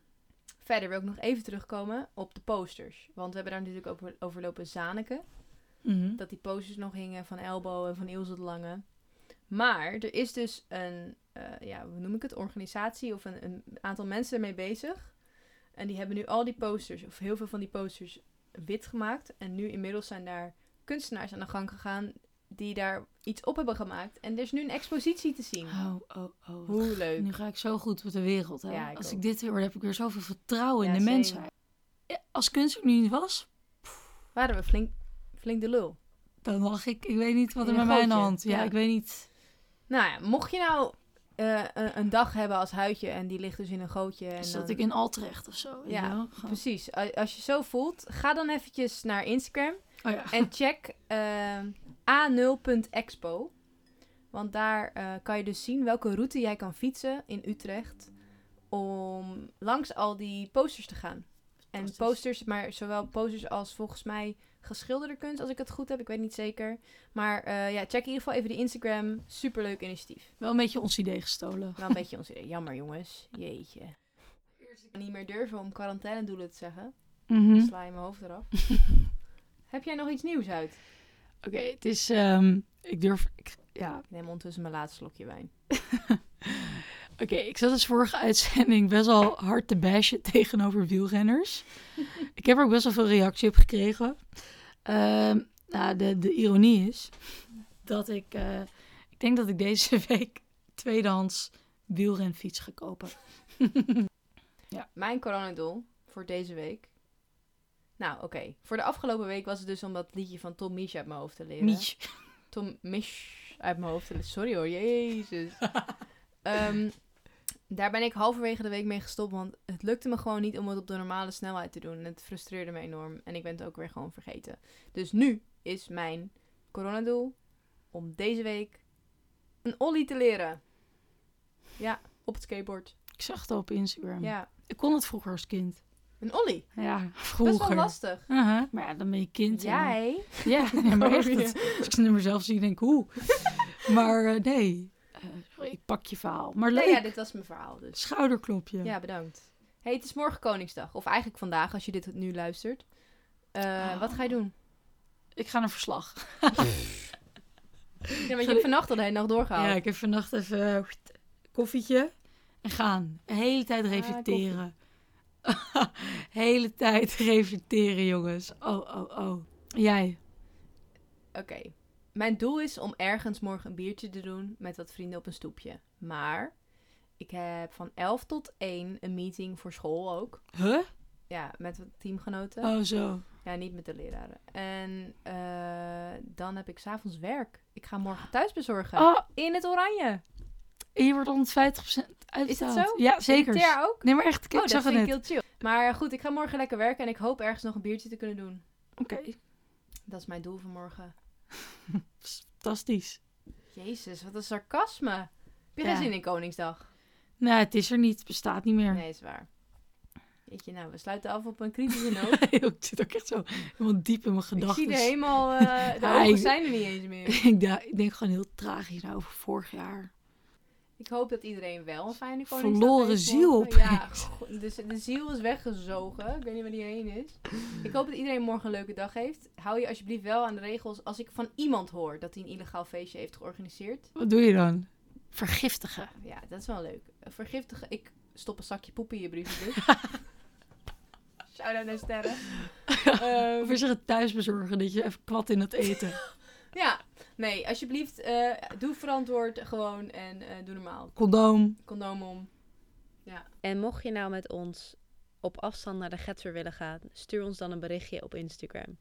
Verder wil ik nog even terugkomen op de posters. Want we hebben daar natuurlijk over, over lopen zaniken. Mhm. dat die posters nog hingen van Elbow en van Ilse de Lange. Maar er is dus een, eh, ja, hoe noem ik het, organisatie of een, een aantal mensen ermee bezig. En die hebben nu al die posters, of heel veel van die posters, wit gemaakt. En nu inmiddels zijn daar kunstenaars aan de gang gegaan die daar iets op hebben gemaakt. En er is nu een expositie te zien. Oh, oh, oh. Hoe leuk. Nu ga ik zo goed met de wereld. Hè? Ja, ik als ook. ik dit hoor, heb ik weer zoveel vertrouwen Ja, in de zeker. mensheid. Ja, als kunst er nu niet was, Waren we flink, flink de lul. dan lag ik... Ik weet niet wat In er een met mij aan de gootje. hand. Ja, Ja. ik weet niet... Nou ja, mocht je nou eh, een, een dag hebben als huidje en die ligt dus in een gootje. En Is dan- dat ik in Altrecht of zo? weet Ja, je wel? Gewoon- Precies, A- als je zo voelt, ga dan eventjes naar Instagram Oh ja. en check ehm, a0.expo. Want daar eh, kan je dus zien welke route jij kan fietsen in Utrecht om langs al die posters te gaan. En Fantastisch. posters, maar zowel posters als volgens mij geschilderde kunst, als ik het goed heb. Ik weet niet zeker. Maar eh, ja, check in ieder geval even de Instagram. Superleuk initiatief. Wel een beetje ons idee gestolen. [laughs] Wel een beetje ons idee. Jammer jongens. Jeetje. Ik kan niet meer durven om quarantainedoelen te zeggen. Mhm. Sla je mijn hoofd eraf. Heb jij nog iets nieuws uit? Oké, het is. ehm, ik durf. Ik, ja, Ik neem ondertussen mijn laatste slokje wijn. oké. ik zat dus vorige [laughs] uitzending best wel hard te bashen [laughs] tegenover wielrenners. ik heb er ook best wel veel reactie op gekregen. Ehm, nou, de, de ironie is dat ik. eh, ik denk dat ik deze [laughs] week tweedehands wielrenfiets ga kopen. Mijn coronadoel voor deze week. Nou, oké. Voor de afgelopen week was het dus om dat liedje van Tom Misch uit mijn hoofd te leren. Mietje. Tom Misch uit mijn hoofd te leren. Sorry hoor, jezus. [laughs] Ehm, daar ben ik halverwege de week mee gestopt, want het lukte me gewoon niet om het op de normale snelheid te doen. En het frustreerde me enorm en ik ben het ook weer gewoon vergeten. Dus nu is mijn coronadoel om deze week een ollie te leren. Ja, op het skateboard. Ik zag het al op Instagram. Ja, Ik kon het vroeger als kind. een ollie. Ja, Best vroeger. wel lastig. Aha, Maar ja, dan ben je kind. en dan- Jij? [laughs] Ja, nee, maar echt. Sorry. dat- als ik het nummer zelf zie, denk ik, [laughs] hoe? maar eh, nee, Eh, sorry, ik pak je verhaal. Maar leuk, Nou ja, dit was mijn verhaal dus. schouderklopje. Ja, bedankt. hey, het is morgen Koningsdag. Of eigenlijk vandaag, als je dit nu luistert. Eh, Oh. Wat ga je [laughs] doen? Ik ga naar verslag. Ja, want je hebt vannacht al de hele nacht doorgehaald. Ja, ik heb vannacht even eh, wst, koffietje en gaan. De hele tijd Ah, reflecteren. [laughs] hele tijd reflecteren, jongens. Oh, oh, oh. Jij? Oké. Mijn doel is om ergens morgen een biertje te doen met wat vrienden op een stoepje. Maar ik heb van 11 tot 1 een meeting voor school ook. Huh? Ja, met wat teamgenoten. Oh, zo. Ja, niet met de leraren. En eh, dan heb ik s'avonds werk. Ik ga morgen thuis bezorgen. Oh, In het oranje. hier wordt 150% uitbetaald. zo? Ja, zeker. Daar ook. Nee, maar echt, ik oh, zag dat het vind ik net. heel chill. Maar goed, ik ga morgen lekker werken en ik hoop ergens nog een biertje te kunnen doen. Oké, Dat is mijn doel vanmorgen. fantastisch. Jezus, wat een sarcasme. Heb je Ja. geen zin in Koningsdag? Nou, het is er niet. Het bestaat niet meer. Nee, is waar. Jeetje, nou, we sluiten af op een [laughs] kritische noot. Nee, ik zit ook echt zo helemaal diep in mijn Ik gedachten. zie er helemaal... eh de Ah, ogen ik- zijn er niet eens meer. [laughs] Ik da- ik denk gewoon heel tragisch nou, over vorig jaar. Ik hoop dat iedereen wel een fijne Koningsdag Verloren heeft ziel morgen. Ja, opeens. go- dus de ziel is weggezogen. Ik weet niet waar die heen is. Ik hoop dat iedereen morgen een leuke dag heeft. Hou je alsjeblieft wel aan de regels. Als ik van iemand hoor dat hij een illegaal feestje heeft georganiseerd... Wat doe je dan? Vergiftigen. Ja, dat is wel leuk. Vergiftigen. Ik stop een zakje poep in je brievenbus. Shout-out naar Sterren. Ehm, Of is er het thuisbezorgen dat je even kwad in het eten? ja, nee, alsjeblieft. eh, doe verantwoord gewoon en eh, doe normaal. [laughs] Condoom. Condoom om. En mocht je nou met ons op afstand naar de getver willen gaan, stuur ons dan een berichtje op Instagram.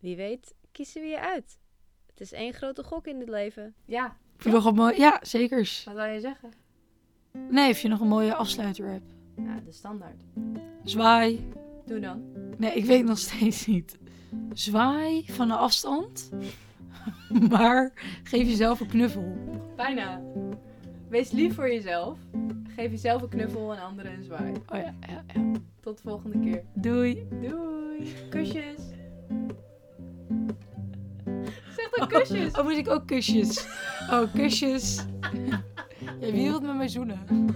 Wie weet, kiezen we je uit. Het is één grote gok in dit leven. Ja, Heb je nog een mooie... Ja, zekers. wat wil je zeggen? Nee, heb je nog een mooie afsluiter hebt. Nou, de standaard. Zwaai. Doe dan. Nee, ik weet nog steeds niet. Zwaai van een afstand. [laughs] Maar geef jezelf een knuffel. Bijna. Wees lief voor jezelf. Geef jezelf een knuffel en anderen een zwaai. Oh ja, ja, ja. Tot de volgende keer. Doei. Doei. Kusjes. Zeg [laughs] dan kusjes. Oh, moet ik ook kusjes? Oh, kusjes. Ja, wie wilt met mij zoenen?